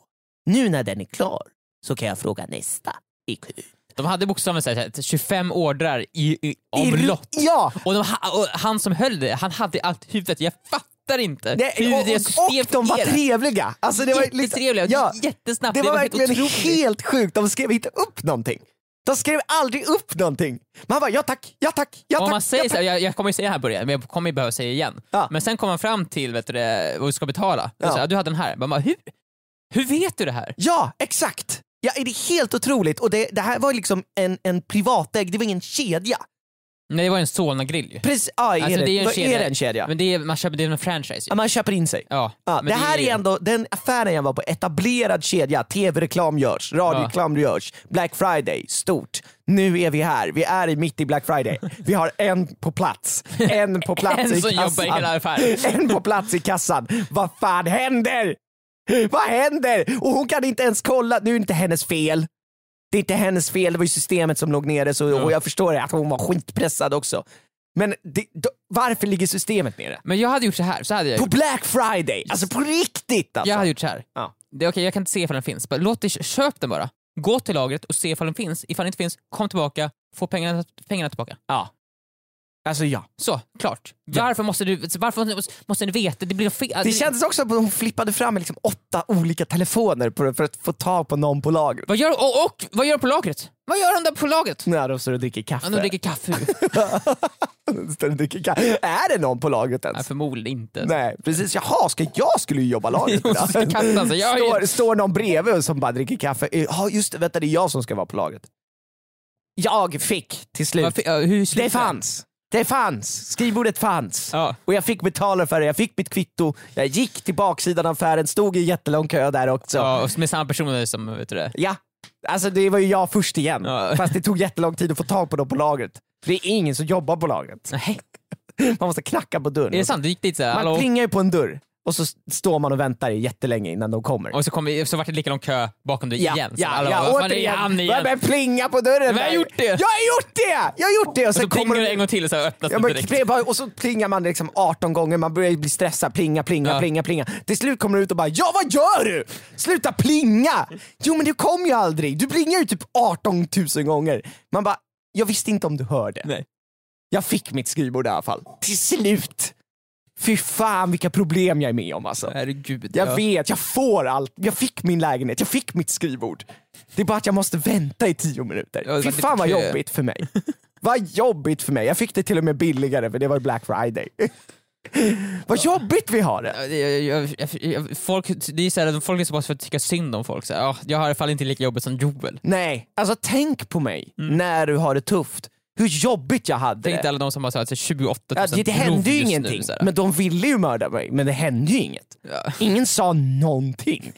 nu när den är klar så kan jag fråga nästa i kö. De hade bokstavligen så här, 25 ordrar i, i omlopp. Ja! Och, de, ha- och han som höll det, han hade allt huvudet. Jag fattar inte Det, hur och, det och, och systemet de var fungerar. trevliga! Alltså det var liksom- Jättetrevliga, ja, jättesnabbt. det var helt verkligen otroligt. helt sjukt, de skrev inte upp någonting. De skrev aldrig upp någonting. Man bara ja tack, ja tack, ja Om tack. man säger ja, så tack. här, jag, jag kommer ju säga det här i början, men jag kommer ju behöva säga det igen. Ja. Men sen kommer man fram till vet du, det, vad du ska betala. Ja. Ja. Så här, du hade den här. Man bara, hur, hur vet du det här? ja exakt! Ja, det är helt otroligt och det, det här var liksom en, en privatägd, det var ingen kedja. Nej, det var en Solna-grill ju. Precis, ja, är, Alltså, det, det är ju en vad kedja. är det en kedja? Men det är, man köper, det är en franchise Ja, ju. man köper in sig. Ja, Ja, men det här ju- är ändå den affären jag var på, etablerad kedja, tv-reklam görs, radioreklam görs, Black Friday, stort. Nu är vi här, vi är i- mitt i Black Friday. Vi har en på plats, en på plats En i som jobbar i kassan. hela affären. En på plats i kassan. Vad fan händer? Vad händer? Och hon kan inte ens kolla, nu är det inte hennes fel. Det är inte hennes fel, det var ju systemet som låg nere så, och jag förstår att hon var skitpressad också. Men det, då, varför ligger systemet nere? Men jag hade gjort så här. Så hade jag, På gjort. Black Friday! Alltså på riktigt alltså! jag hade gjort så här. Ja. Det är Okej, jag kan inte se ifall den finns. Bara, låt det, köp den bara. Gå till lagret och se ifall den finns. Ifall den inte finns, kom tillbaka, få pengarna, pengarna tillbaka. Ja. Alltså ja. Så, klart. Varför måste du varför måste ni veta? Det blir fel. Det kändes också som att hon flippade fram med liksom åtta olika telefoner på- för att få tag på någon på lagret. Vad gör, och, och vad gör de på lagret? Vad gör de där på lagret? När de står och dricker kaffe. Ja, de dricker kaffe. står och dricker kaffe. Är det någon på lagret ens? Nej, förmodligen inte. Nej, precis. Jaha, ska jag skulle ju jobba lagret Jo, så idag. ska alltså. kassan säga, jag är- står, står någon bredvid som bara dricker kaffe. Eh, Ja, just det, vänta, det är jag som ska vara på lagret. Jag fick till slut. Varför, ja, hur Det slutar fanns. Det fanns. Skrivbordet fanns. Ja. Och jag fick betala för det, jag fick mitt kvitto, jag gick till baksidan av affären, stod i jättelång kö där också. Ja, och med samma personer som, vet du det? Ja, alltså det var ju jag först igen. Ja. Fast det tog jättelång tid att få tag på dem på lagret. För det är ingen som jobbar på lagret. Nej, Man måste knacka på dörren. är det sant? Du gick dit såhär, Man hallå? plingar ju på en dörr och så s- står man och väntar jättelänge innan de kommer. Och så, kom, så vart det lika lång kö bakom dig Ja, igen. Så, ja, hallå, ja, vad fan är det i hamn återigen. igen. Ja, men plinga på dörren. Men jag har där. gjort det. Jag har gjort det! Jag har gjort det! Och så sen plingar kommer det de- en gång till och så öppnas Ja, det men direkt. det är bara- och så plingar man liksom 18 gånger, man börjar ju bli stressad. Plinga, plinga, Ja. plinga, plinga. Till slut kommer du ut och bara “Ja, vad gör du? Sluta plinga!” Jo, men du kom ju aldrig. Du plingar ju typ 18 000 gånger. Man bara “Jag visste inte om du hörde.” Nej. Jag fick mitt skrivbord i alla fall. Till slut! Fy fan vilka problem jag är med om alltså. Herregud. Jag ja. vet, jag får allt. Jag fick min lägenhet, jag fick mitt skrivbord. Det är bara att jag måste vänta i tio Ja, minuter. det Fy var lite fan vad kö. jobbigt för mig. Vad jobbigt för mig. Jag fick det till och med billigare för det var ju Black Friday. Vad jobbigt vi har det. Ja, det- Jag, jag, jag, jag, folk, det är så här, folk är så pass för att tycka synd om folk. Så här, "Ja, jag har i alla fall inte lika jobbigt som Joel. Nej, alltså tänk på mig när du har det tufft. Hur jobbigt jag hade Mm. Tänk det. dig alla de som har så här, så här, 28 000 Ja, det, det hände prov ju just nu, ingenting. så här. men de ville ju mörda mig, men det hände ju inget. Ja. Ingen sa någonting.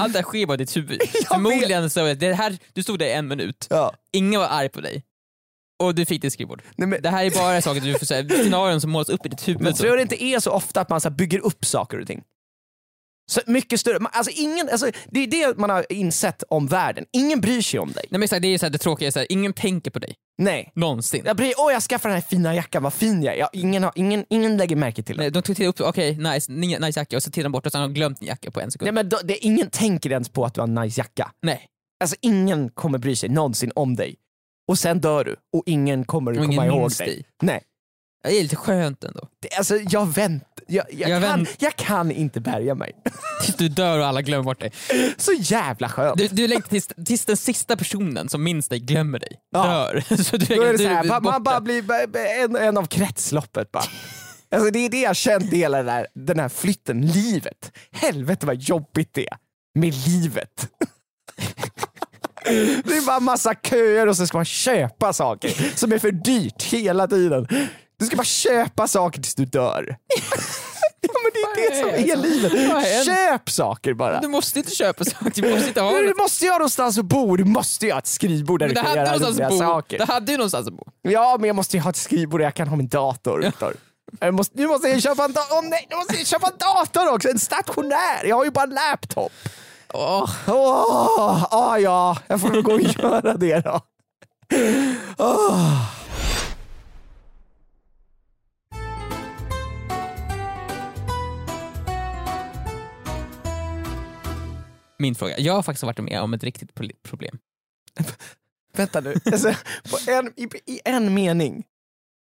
Allt det här sker bara i ditt huvud. Förmodligen så, det här, du stod där i en minut, Ja. ingen var arg på dig. Och du fick ditt skrivbord. Nej, men- Det här är bara saker du får säga, scenarion som målas upp i ditt huvud. Men så. tror det inte är så ofta att man så här bygger upp saker och ting? Så mycket större. Man- Alltså ingen, alltså, det är det man har insett om världen. Ingen bryr sig om dig. Nej, men så här, det är så här, det tråkiga är så här, ingen tänker på dig. Nej. Någonsin. Jag bryr, åh jag skaffar den här fina jackan, vad fin jag är. Ja, ingen, har, ingen, ingen lägger märke till det. Nej, De tittar upp, okej nice, ni- nice jacka och så tittar de bort och sen har de glömt en jacka på en sekund. Nej, men då, det, ingen tänker ens på att du har en nice jacka. Nej. Alltså ingen kommer bry sig någonsin om dig. Och sen dör du och ingen kommer Och komma ingen ihåg minns dig. dig. Nej. Det är lite skönt ändå. Det, alltså jag vänt, jag, jag, kan, Jag vänt- jag kan inte bärga mig. Tills du dör och alla glömmer bort dig. Så jävla skönt. Du, du längtar tills, tills den sista personen som minns dig glömmer dig, Ja. dör. Så du, Då är det du så här, blir man, man bara borta. blir ba- ba- en, en av kretsloppet bara. Alltså det är det jag känt i hela den här, den här flytten, livet. Helvete vad jobbigt det är med livet. Det är bara massa köer och så ska man köpa saker som är för dyrt hela tiden. Du ska bara köpa saker tills du dör. Ja, men det är det som är livet. Vad är det? Köp saker bara. Du måste inte köpa saker, du måste inte ha Men Du något. måste ju ha någonstans att bo, du måste ju ha ett skrivbord där Men du Det kan hade, göra någonstans roliga att bo. saker. det hade ju någonstans att bo. Ja, men jag måste ju ha ett skrivbord där jag kan ha min dator. Viktor. Jag måste, nu måste jag köpa en dator. Åh nej, nu måste jag köpa en dator också! En stationär! Jag har ju bara en laptop. Åh, Åh, ah, ja, jag får väl gå och göra det då. Åh. Min fråga, jag har faktiskt varit med om ett riktigt poli- problem. Vänta nu, alltså, på en, i, i en mening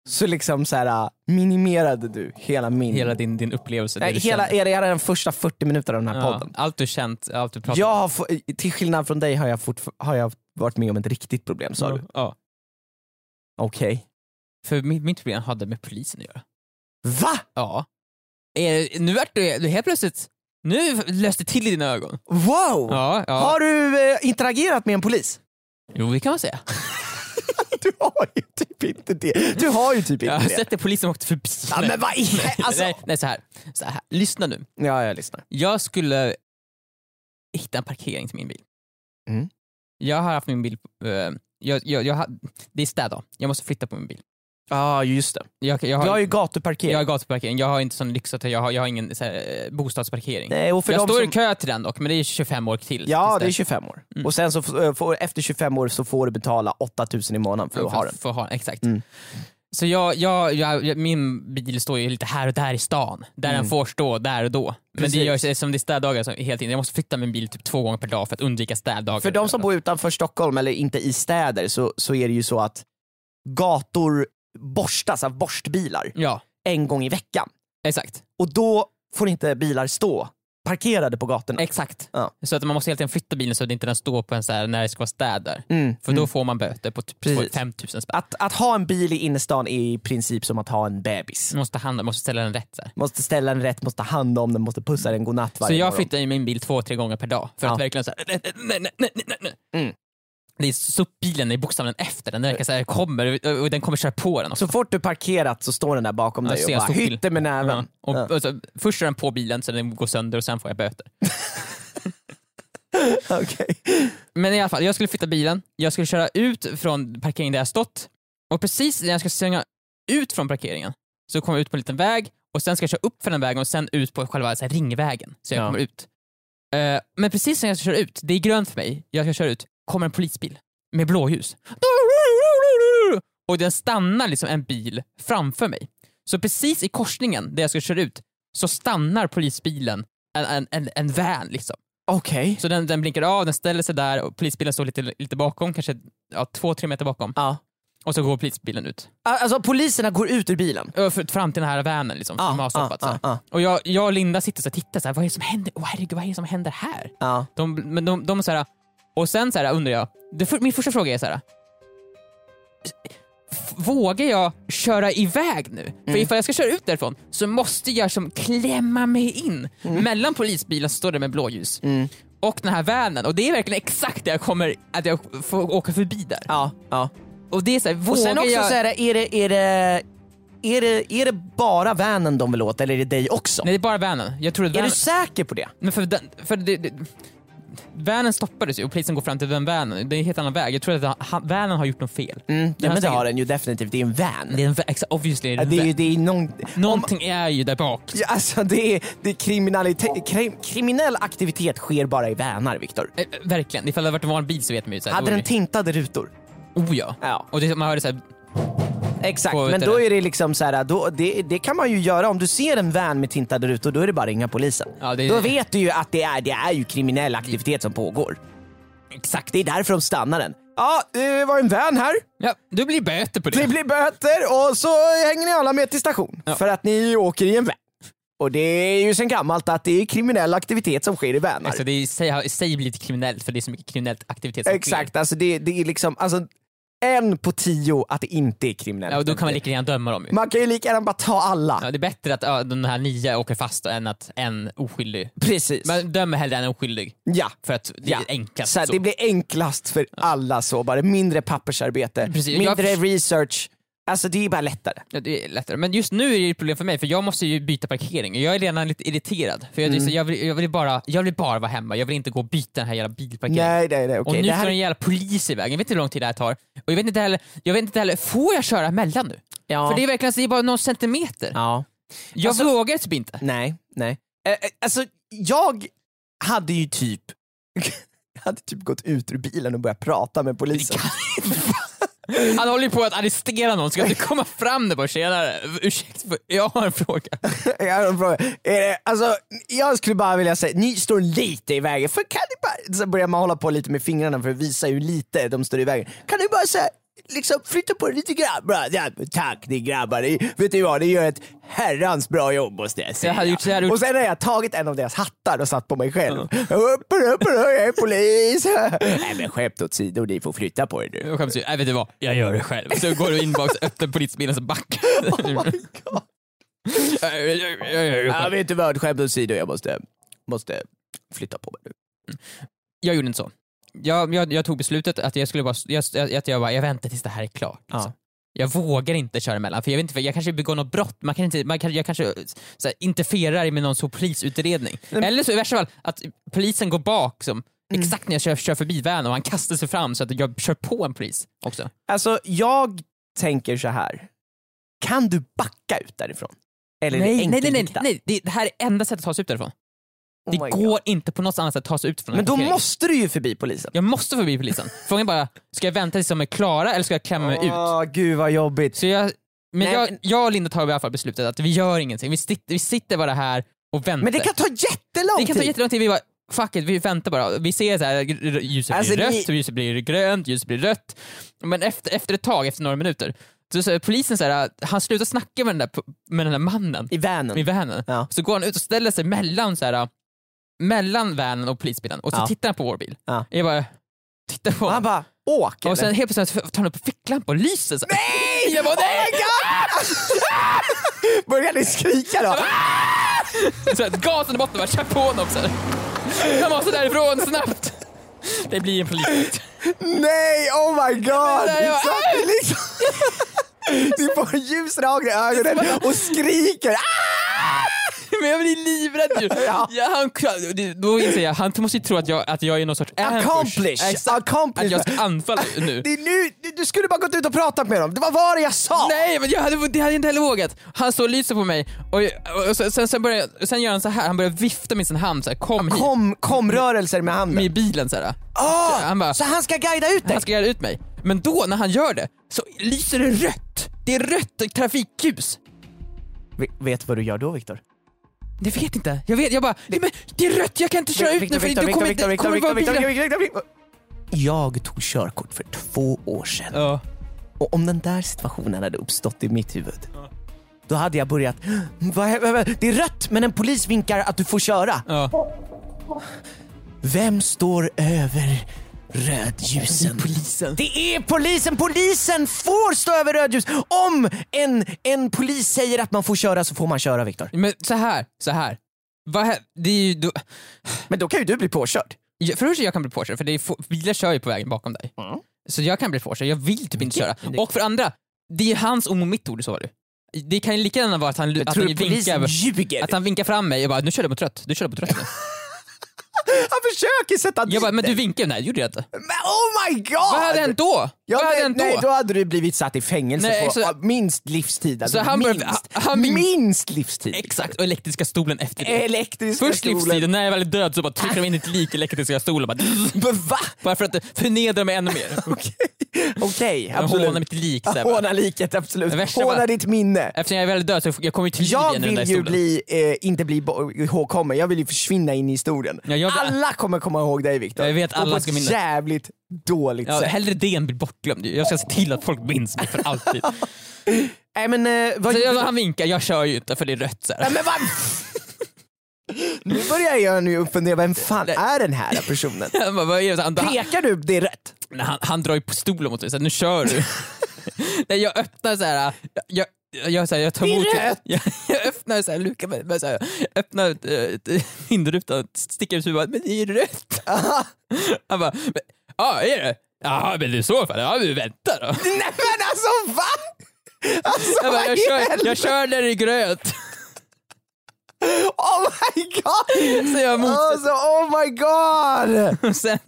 så liksom så här, äh, minimerade du hela min... Hela din, din upplevelse. det nej, du hela, kände. är det hela den första 40 minuterna av den här podden. Ja, allt du känt, allt du pratat Jag har, få- till skillnad från dig har jag, fortfar- har jag varit med om ett riktigt problem sa du. Ja. Okej. För mitt, mitt problem hade med polisen att göra. Va? Ja. Eh, nu vart du helt plötsligt, nu löste till i dina ögon. Wow! Ja, ja. Har du eh, interagerat med en polis? Jo det kan man säga. Du har ju typ inte det. Du har ju typ Jag inte har det. sett det polisen åkte förbi. Ja, men vad i he- alltså. nej, nej så, här. så här. lyssna nu. Ja, jag lyssnar. Jag skulle hitta en parkering till min bil. Mm. Jag har haft min bil, eh, jag, jag, jag, har- det är städdag, jag måste flytta på min bil. Ja, just det. Jag, jag Du har har, ju jag har gatuparkering. gatuparkering, jag har inte sån lyx att jag har, jag har ingen så här, eh, bostadsparkering. Nej, och för jag dem står i som- kö till den dock, men det är 25 år till. Ja, tills det är dess. 25 år. Och sen så, f- eh, får, efter 25 år så får du betala 8000 i månaden för att ha den. För att ha den, exakt. Mm. Så jag, jag, jag, jag- min bil står ju lite här och där i stan, där den får stå där och då. Men Mm. Precis. det gör sig som det är städdagar så helt in. Jag måste flytta min bil typ två gånger per dag för att undvika städdagar. För de som bor utanför Stockholm eller inte i städer så, så är det ju så att gator borstas av borstbilar Ja, en gång i veckan. exakt. Och då får inte bilar stå parkerade på gatorna. Exakt. Ja. Så att man måste helt enkelt flytta bilen så att inte den står på en så här när det ska vara städer. Mm, För då får man böter på typ Precis. 5000 spänn. Att, att ha en bil i innerstan är i princip som att ha en bebis. Man måste, handla, måste ställa den rätt. Så, här. Måste ställa den rätt, måste ta hand om den, måste pussa den godnatt varje så jag morgon. flyttar ju min bil två, tre gånger per dag för Ja. att verkligen så här, nej, nej, nej, nej, nej, nej. Mm. Det är SUP-bilen, det är bokstavligen efter den. Den verkar så här, kommer, och den kommer köra på den också. Så fort du parkerat så står den där bakom Ja, dig ser och jag bara stå till. hytter med näven. Ja. Och, Ja. och så, först är den på bilen så den går sönder och sen får jag böter. Okej. Men i alla fall, jag skulle flytta bilen, jag skulle köra ut från parkeringen där jag stått och precis när jag ska svänga ut från parkeringen så kommer jag ut på en liten väg och sen ska jag köra upp för den vägen och sen ut på själva så här ringvägen så jag Ja. kommer ut. Eh, men precis när jag ska köra ut, det är grönt för mig, jag ska köra ut, kommer en polisbil med blåljus. Och den stannar liksom en bil framför mig. Så precis i korsningen där jag ska köra ut så stannar polisbilen en, en, en, en van liksom. Okej. Så den, den blinkar av, den ställer sig där och polisbilen står lite, lite bakom, kanske ja, två, tre meter bakom. Ja. Och så går polisbilen ut. Alltså poliserna går ut ur bilen. Ö, för- Fram till den här vanen liksom, Ja, som har stoppat. ja, så här. ja, ja. Och jag, jag och Linda sitter så här och tittar, så här, vad är det som händer? Åh herregud, vad är det som händer här? Ja. De, men de, de så här, och sen så här undrar jag, det, för, min första fråga är så här. f- Vågar jag köra iväg nu? För Mm. ifall jag ska köra ut därifrån så måste jag som klämma mig in Mm. mellan polisbilen som står där med blåljus och den här vanen och det är verkligen exakt där jag kommer, att jag får åka förbi där. ja, ja. Och det är så här, vågar Och sen också jag... så är det, är det, är det, är det, är det bara vanen de vill åt eller är det dig också? Nej det är bara vanen. Jag tror att Är vanen... du säker på det? Men för den, för det, det, vanen stoppades ju och polisen går fram till den vanen. Det är en helt annan väg. Jag tror att han- han- vanen har gjort något fel. Mm. Ja, har men det säkert- har den ju definitivt, det är en van. Det är en, vä- exa- obviously är Ja, det en Det är ju vän. det är någon... Någonting är ju där bak. Ja, Alltså det är, det är kriminalitet, krim, kriminell aktivitet sker bara i vanar, Viktor. Eh, eh, Verkligen, ifall det hade varit en vanlig bil så vet man ju. Så här, Hade då är den det- tintade rutor? Oh ja. Ja. Och det, man hörde såhär, Exakt, Får vi men inte då det? är det liksom så här, då, det, det kan man ju göra. Om du ser en van med tintade rutor, då är det bara att ringa polisen. Ja, det- Då vet du ju att det är, det är ju kriminell aktivitet som pågår. exakt. Det är därför de stannar den. Ja, det var en van här. Ja, du blir böter på det. Det blir böter och så hänger ni alla med till station. För att ni åker i en van. Och det är ju sen gammalt att det är kriminell aktivitet som sker i vanar. Alltså det är i sig, i sig blir lite kriminellt för det är så mycket kriminellt aktivitet som Exakt, alltså det, det är liksom alltså, en på tio att det inte är kriminellt. sker. Ja, och då kan man lika gärna döma dem ju. Man kan ju lika gärna bara ta alla. Ja, det är bättre att ja, de här nio åker fast än att en oskyldig. Precis. Man dömer hellre en oskyldig ja. för att det Ja. är enklast Så här, så. det blir enklast för alla så bara, mindre pappersarbete, Precis, jag mindre förs- research. Alltså det är bara lättare. Ja, det är lättare. Men just nu är det ett problem för mig för jag måste ju byta parkering och jag är redan lite irriterad. För jag, Mm. så jag, vill, jag, vill bara, jag vill bara vara hemma, jag vill inte gå och byta den här jävla bilparkeringen. Nej, nej, nej. Och Okej, nu det står här... en jävla polis i vägen, jag vet inte hur lång tid det här tar. Och jag vet inte heller, jag vet inte heller får jag köra emellan nu? Ja. För det är verkligen så det är bara någon centimeter. ja. Jag Alltså- vågar typ inte. Nej, nej. Eh, eh, alltså jag hade ju typ jag hade typ gått ut ur bilen och börjat prata med polisen. Han håller ju på att arrestera någon, ska du komma fram där bara tjenare, ursäkta, jag har en fråga. Jag har en fråga. Är det- Alltså, jag skulle bara vilja säga, ni står lite i vägen. För kan ni bara... Så börjar man hålla på lite med fingrarna för att visa hur lite de står i vägen. Kan ni bara säga, liksom flytta på er lite grann. Bra, ja, Tack ni grabbar, ni, vet ni vad, ni gör ett herrans bra jobb måste jag säga. Jag hade gjort så här ut- Och sen har jag tagit en av deras hattar och satt på mig själv. Upp, upp, upp, jag är polis. Nej men skämt åsido, ni får flytta på er nu. Jag skäms ju, nej vet du vad, jag gör det själv. Så går du in bak, så öppnar polisbilen så backar Oh my God. Jag- jag- jag- jag gör det Ja, själv. vet du vad, skämt åsido, jag måste, måste flytta på mig nu. Jag gjorde inte så. Jag, jag, jag tog beslutet att jag skulle bara, jag, jag- att jag bara, jag väntar tills det här är klart. liksom. Jag vågar inte köra emellan, för jag vet inte, för jag kanske begår något brott, man kan inte, man kan, jag kanske eh, så här, interfererar med någon så polisutredning. Eller så i värsta fall, att polisen går bak som, Mm. exakt när jag kör, kör förbi van och han kastar sig fram så att jag kör på en polis också. Alltså jag tänker så här. kan du backa ut därifrån? Eller är det nej, nej, nej, nej, enkelriktat? nej, det, det här är enda sättet att ta sig ut därifrån. Oh det my går God. inte på något annat sätt att ta sig ut från den Men här då parkeringen. måste du ju förbi polisen. Jag måste förbi polisen. Frågan är bara, ska jag vänta tills de är klara eller ska jag klämma mig Mm, Ah. ut? Åh, gud vad jobbigt. Så jag, men Nej, jag, men- jag och Linda tar i alla fall beslutet att vi gör ingenting, vi, sitt, vi sitter bara här och väntar. Men det kan ta jättelång Det kan ta tid. jättelång tid, vi bara fuck it, vi väntar bara. Vi ser så här, gr- gr- ljuset Alltså, blir ni- rött, ljuset blir grönt, ljuset blir rött. Men efter, efter ett tag, efter några minuter, så, så polisen så här, han slutar snacka med den där, p- med den där mannen I vanen. i vanen. Ja. Så går han ut och ställer sig mellan så här, mellan vanen och polisbilen och så Ja. tittar han på vår bil. Ja. Jag bara tittar på Och han honom. bara, åk Och sen eller? helt plötsligt tar han upp ficklampan och lyser så här. Nej! Jag bara, Oh nej! my god! Börjar ni skrika då? Så här, gasen i botten bara, kör på honom så här. Jag måste därifrån snabbt! Det blir en polis. Nej, oh my god! där, jag bara, Så att ni liksom... Ni får ljus rakt i ögonen och skriker. Ah! Men jag blir livrädd ju! Ja. Ja. han, det- då inser jag, han måste ju tro att jag, att jag är någon sorts ambush. Accomplish! Exakt, att Accomplish! jag ska anfalla nu. Det är nu, du- du skulle bara gått ut och pratat med dem, det var vad det jag sa! Nej, men jag hade, det hade jag inte heller vågat. Han står och lyser på mig och, och, och sen, sen, sen, börjar, jag- sen gör han så här. han börjar vifta med sin hand så här, kom hit, Kom, kom rörelser med handen. med bilen så här. Ah, han bara- så han ska guida ut dig? Han ska göra ut mig. Men då när han gör det så lyser det rött. Det är rött trafikljus. Ve- Vet du vad du gör då Viktor? Det vet inte. Jag vet, jag bara, det, men det är rött, jag kan inte köra ut nu Viktor, för Viktor, du kommer Viktor, Viktor, inte, kommer Viktor, Viktor, vara bilen. Viktor, Viktor, Viktor. Jag tog körkort för två år sedan Ja. och om den där situationen hade uppstått i mitt huvud då hade jag börjat, vad, hä- vad, vad, det är rött men en polis vinkar att du får köra. Ja. Vem står över rödljusen? Polisen. Det är polisen! Polisen får stå över rödljus! Om en, en polis säger att man får köra så får man köra Viktor. Men så här, så här. Vad hä- det är ju, då, Men då kan ju du bli påkörd. Ja, för det första jag kan bli påkörd, för det är, få- bilar kör ju på vägen bakom dig. Mm. Så jag kan bli påkörd, jag vill typ inte köra. Och för andra, det är ju hans ord mot mitt ord, så var det ju. Det kan ju lika gärna vara att han, att Tror han du polisen vinkar, ljuger? att han vinkar fram mig och bara nu kör du mot rött, du kör du mot rött nu. Han försöker sätta dit Jag bara, men dig. du vinkade nej det gjorde jag inte. Men oh my god! Vad hade hänt då? Ja, Vad hade men, hänt nej, då? då hade du blivit satt i fängelse Nej, på så- ja, minst livstid. Alltså, Så han bör- minst, han- han vink- minst livstid. Exakt, och elektriska stolen efter det. Elektriska Först stolen. livstiden, när jag väl är död så bara trycker de in ett lik i elektriska stolen. Bara, Men Va? bara för att förnedra mig ännu mer. Okej, Okej, Jag absolut. hånar mitt lik. Så här, bara. Håna liket, absolut. Det värsta Håna var- ditt minne. Eftersom jag är väl död så jag kommer ju till liv Jag igen i den där vill ju stolen. bli, eh, inte bli bo- ihågkommen, jag vill ju försvinna in i historien. Ja, jag- Alla kommer komma ihåg dig Viktor. Jag vet, Och alla på ska ett minnas. jävligt dåligt Ja, sätt. hellre det än bli bortglömd. Jag ska se till att folk minns mig för alltid. Nej men eh, vad... Så jag, han vinkar, jag kör ju inte för det är rött. Så här. Nej, men vad... nu börjar jag nu fundera, vem fan är den här personen? Han, bara, vad är det? han, han, Pekar du det är rätt? han, han drar ju på stolen mot mig, så här, nu kör du. Nej, jag öppnar så här. Jag, jag, jag, så här, jag tar Det är emot rött! jag, jag öppnar så här, Luka, men, men, så här, jag öppnar äh, vindrutan, sticker ut huvudet, men det är ju rött. Han bara, men, ja är det? Ja men i så fall, ja vi väntar då. Nej men alltså va? Alltså Jag, bara, vad jag, i kör, helvete? jag kör när det är grönt. Oh my god! Så jag motsätter Alltså oh my god! mig sen.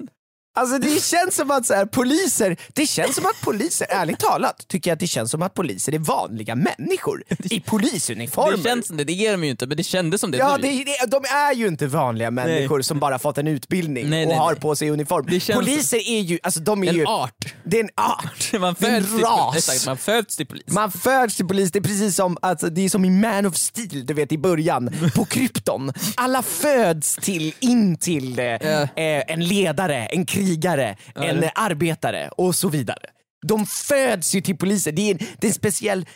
Alltså det känns som att så här, poliser, det känns som att poliser, ärligt talat, tycker jag att det känns som att poliser är vanliga människor i polisuniformer. Det känns som det, det är de ju inte, men det kändes som det Ja, nu. det, det, de är ju inte vanliga människor som bara fått en utbildning Nej, och nej, har nej. på sig uniform. Det känns- Poliser är ju, alltså de är ju, En art. det är en art. Man det är en föds, till, ras. exakt, man föds till polis. Man föds till polis, det är precis som, alltså, det är som i Man of Steel du vet i början, på krypton. Alla föds till, in till eh, eh, en ledare, en krigare, en eh, arbetare och så vidare. De föds ju till poliser, det är en, det är en speciell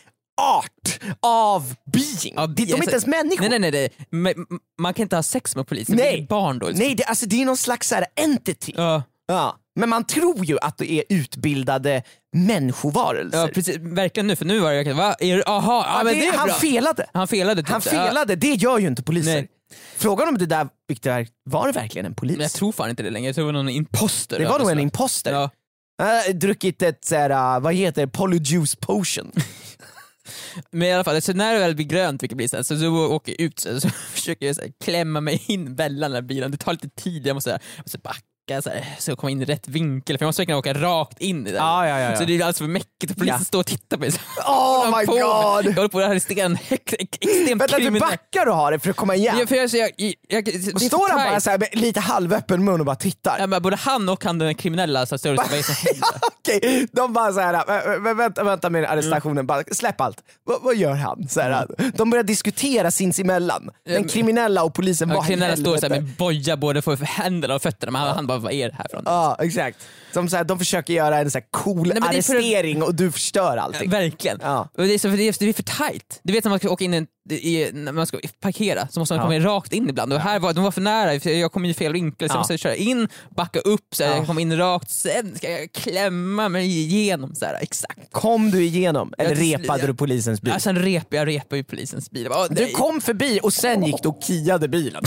art av being. Ja, de, de är alltså, inte ens människor. Nej, nej, nej, det, men, m- man kan inte ha sex med polisen, Nej. det är barn då. liksom. Nej, det, alltså, det är någon slags så här entity. Ja, Ja. Men man tror ju att det är utbildade människovarelser. ja, precis, verkligen nu, för nu var det verkligen, va? Är, det- aha, ja, Ja, men det- det, är han bra. felade. han felade. Typ, Han så här, ja. felade, det gör ju inte poliser. Nej. Frågan om det där, Victor, var det verkligen en polis? Men jag tror fan inte det längre, jag tror det var någon imposter. det av var nog något en slag. imposter. Ja. Jag har druckit ett, så här, äh, vad heter det, polyjuice potion. Men i alla fall, så när det väl blir grönt, vilket blir sen, så, så åker jag ut så, så försöker jag så här, klämma mig in mellan den här bilen. Det tar lite tid, jag måste, så här, jag måste backa så, här, så jag kommer in i rätt vinkel, för jag måste verkligen åka rakt in i den. Ja, ja, ja, ja. Så det är alldeles för mäckigt och polisen står och tittar på mig. Så, Oh my på mig. Jag god! håller på att arrestera en högt, ex- extremt Vänta, du kriminell. backar och har det för att komma igen. Ja, för jag, så jag, jag, jag, det är Och för står han tajt. bara så här med lite halvöppen mun och bara tittar? Ja, men både han och han den här kriminella så större, vad är det som händer? Okej, de bara såhär, "Vä- vä- vänta, vänta med arrestationen, bara, släpp allt. Va- vad gör han? Så här, Mm. De börjar diskutera sinsemellan, den kriminella och polisen. Ja, vad i kriminella står så här helvete? med boja både för händerna och fötterna, men han, han bara vad är det här för något? Ja, exakt. Som så här, de försöker göra en så här cool men det är för- arrestering och du förstör allting. Verkligen. Ja. Och det, är så, för det, är, det är för tight. Du vet när man ska åka in en, i, när man ska parkera så måste man komma in rakt in ibland. Och här var, de var för nära, för jag kom in i fel vinkel så Ja. jag måste köra in, backa upp, så här, jag kom in rakt, sen ska jag klämma mig igenom. Så här, exakt. Kom du igenom eller Ja, till- repade du polisens bil? Ja, sen rep, jag repade ju polisens bil. Jag bara, "Åh, du nej." kom förbi och sen gick du och kiade bilen.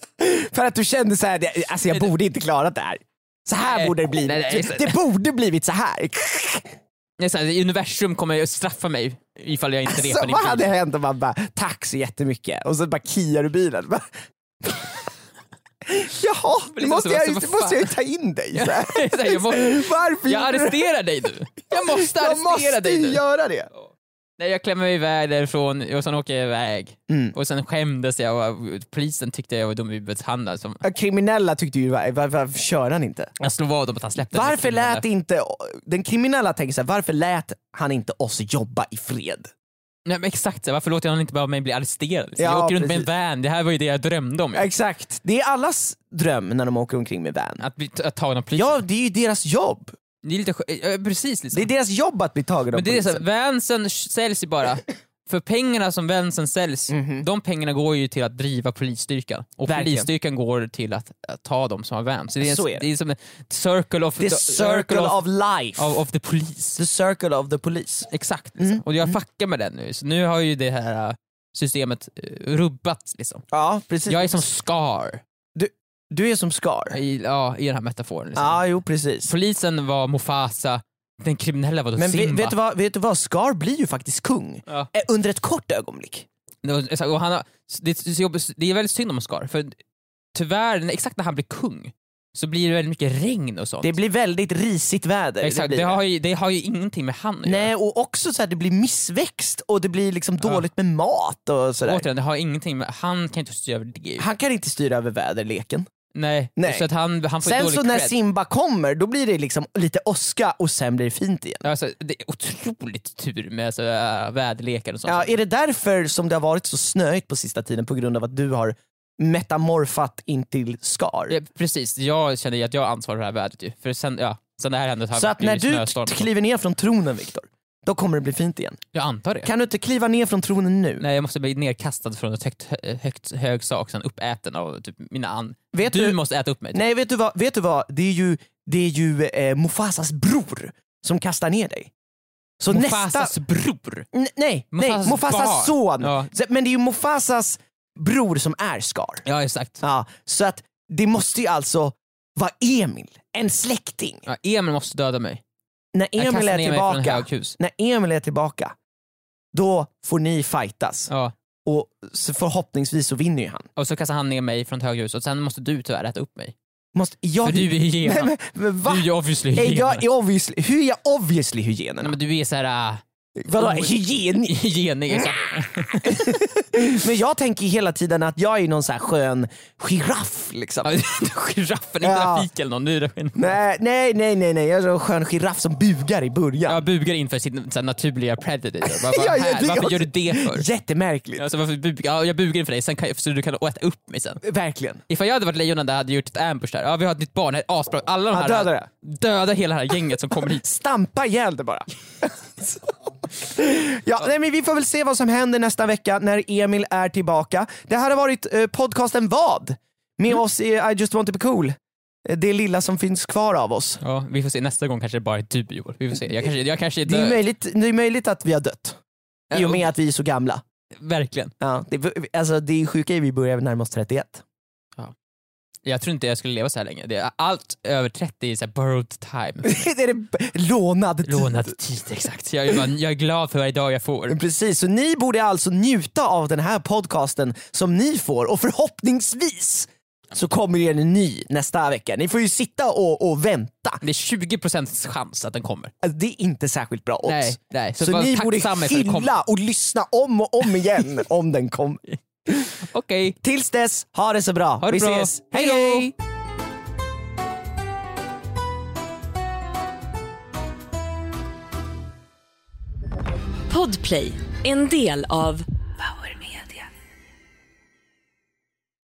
För att du kände så här, "Det- alltså jag borde inte klarat det här. Så här Nej. borde det bli. Nej, nej, exakt. det borde blivit så här. Nej, så här, universum kommer att straffa mig ifall jag inte Så repar din Alltså, vad bil. hade hänt om man bara, tack så jättemycket och så bara kiar du bilen? Bara- Jaha, nu Polisen måste så bara, jag, så ju- vad måste jag ju fan? ta in dig. Så här. Så här, jag, måste, Varför jag gjorde du det? arresterar dig nu. Jag måste Jag arrestera måste dig nu. göra det. Nej, jag klämmer mig iväg därifrån och sen åker jag iväg. Mm. Och sen skämdes jag och polisen tyckte jag var dum i huvudet. Han där som- Ja, Kriminella tyckte ju, var- varför, varför kör han inte? Jag slog vad om att han släppte den här Varför kriminella. lät inte, den kriminella tänker så här, varför lät han inte oss jobba i fred? Nej, men exakt, så här, varför låter han inte bara mig bli arresterad? Så Ja, jag åker runt med en precis. van, det här var ju det jag drömde om. ju. Exakt, det är allas dröm när de åker omkring med van. Att bli t- tagen av polisen. Ja, det är ju deras jobb. Det är lite skö- eh, precis liksom. Det är deras jobb att bli tagen av men det är så här, polisen. vansen sh- säljs ju bara. För pengarna som vansen säljs, de pengarna går ju till att driva polisstyrkan. Och Mhm. Verkligen. polisstyrkan går till att, att ta dem som har vans. Så det är, Så är det. det är som en circle of... The circle of life. of, of the police. The circle of the police. Exakt. Liksom. Och jag Mm. fuckar med den nu, så nu har ju det här äh, systemet äh, rubbats. Liksom. Ja, precis. Jag är som Scar Du är som Scar. i, ja, i den här metaforen. Liksom. Ja, jo precis. Polisen var Mufasa, den kriminella var då Men Simba. vet, vet, du vad, vet du vad, Scar blir ju faktiskt kung. Ja. Eh, Under ett kort ögonblick. Det var- exakt, Och han har, det, är så jobbigt- det är väldigt synd om Scar, för tyvärr, när- exakt när han blir kung, så blir det väldigt mycket regn och sånt. Det blir väldigt risigt väder. exakt, det, blir har ju, det har ju ingenting med han att göra. Nej, och också så här, det blir missväxt och det blir liksom dåligt med mat och sådär. Återigen, det har ingenting med, han kan inte styra över det. ju. Han kan inte styra över väderleken. Nej. Nej. Så att han, han får Sen dålig så när cred. Simba kommer, då blir det liksom lite åska och sen blir det fint igen. Alltså, det är otroligt tur med alltså, äh, väderlekar och sånt. Ja, är det därför som det har varit så snöigt på sista tiden på grund av att du har metamorfat in till Skar? Ja, precis, jag känner ju att jag har ansvar för det här vädret ju. För sen, ja, sen det här hände har Så att det ju när du snöstorm och sånt. kliver ner från tronen Viktor, då kommer det bli fint igen. Jag antar det. Kan du inte kliva ner från tronen nu? Nej jag måste bli nerkastad från ett högt, hö- högt, hög sak, sen uppäten av typ mina an... Vet du du- måste äta upp mig. Nej, vet du vad? Vet du vad? Det är ju, det är ju eh, Mufasas bror som kastar ner dig. Så nästa... Mufasas bror. N- nej, Mufasas nej, Mufasas barn. son. Ja. Så- Men det är ju Mufasas bror som är Skar. Ja exakt. Ja, så att det måste ju alltså vara Emil, en släkting. Ja, Emil måste döda mig. När Jag Emil kastar är ner mig från ett tillbaka, högt hus. när Emil är tillbaka, då får ni fightas. Ja. Och så förhoppningsvis så vinner ju han. Och så kastar han ner mig från ett högt hus och sen måste du tyvärr äta upp mig. Måste, jag, För du är ju men, hyena. men, men, va? Du är ju obviously Är hyena. jag är obviously, hur är jag obviously Nej, hygienerna? men du är såhär... Äh, Vadå Oh. hygienig? genig. exakt. Men jag tänker hela tiden att jag är någon så här skön giraff liksom. Ja, Giraffen, inte Ja. Rafik eller någon. Nu är det en- Nej, nej, nej, nej, nej, jag är en skön giraff som bugar i början. Jag bugar inför sitt så här, naturliga predator. Bara, Ja, bara, ja, här, det varför också. gör du det för? Jättemärkligt, Alltså, varför bugar, ja, jag bugar inför dig sen kan, jag- så du kan äta upp mig sen. verkligen. Ifall jag hade varit lejonen där hade jag gjort ett ambush där. Ja vi har ett nytt barn, här är asbra. Alla de Ja, här, döda det. döda hela det här gänget som kommer hit. Stampa ihjäl det bara. ja, nej, men vi får väl se vad som händer nästa vecka när Emil är tillbaka. Det här har varit eh, podcasten Vad? Med oss i I just want to be cool. Eh, Det lilla som finns kvar av oss. Ja, vi får se, nästa gång kanske det bara är du Joel. Vi får se, jag kanske, jag kanske är Det är, ju död. möjligt, det är möjligt att vi har dött. I och med att vi är så gamla. Verkligen. Ja, det, alltså, det är sjuka är att vi börjar närma oss 31. Jag tror inte jag skulle leva så här länge. Det är allt över 30 är så här borrowed time. det är det b- lånad tid. Lånad tid, exakt. Jag är, bara, jag är glad för varje dag jag får. Precis, så ni borde alltså njuta av den här podcasten som ni får och förhoppningsvis så kommer det en ny nästa vecka. Ni får ju sitta och, och vänta. Det är 20% chans att den kommer. Alltså, det är inte särskilt bra odds. Nej, nej. Så, var ni borde tacksamma för att den kommer. hylla och lyssna om och om igen om den kommer. Okej. Tills dess, ha det så bra. det Vi bra. ses. Hej Hej då. hej! Podplay, en del av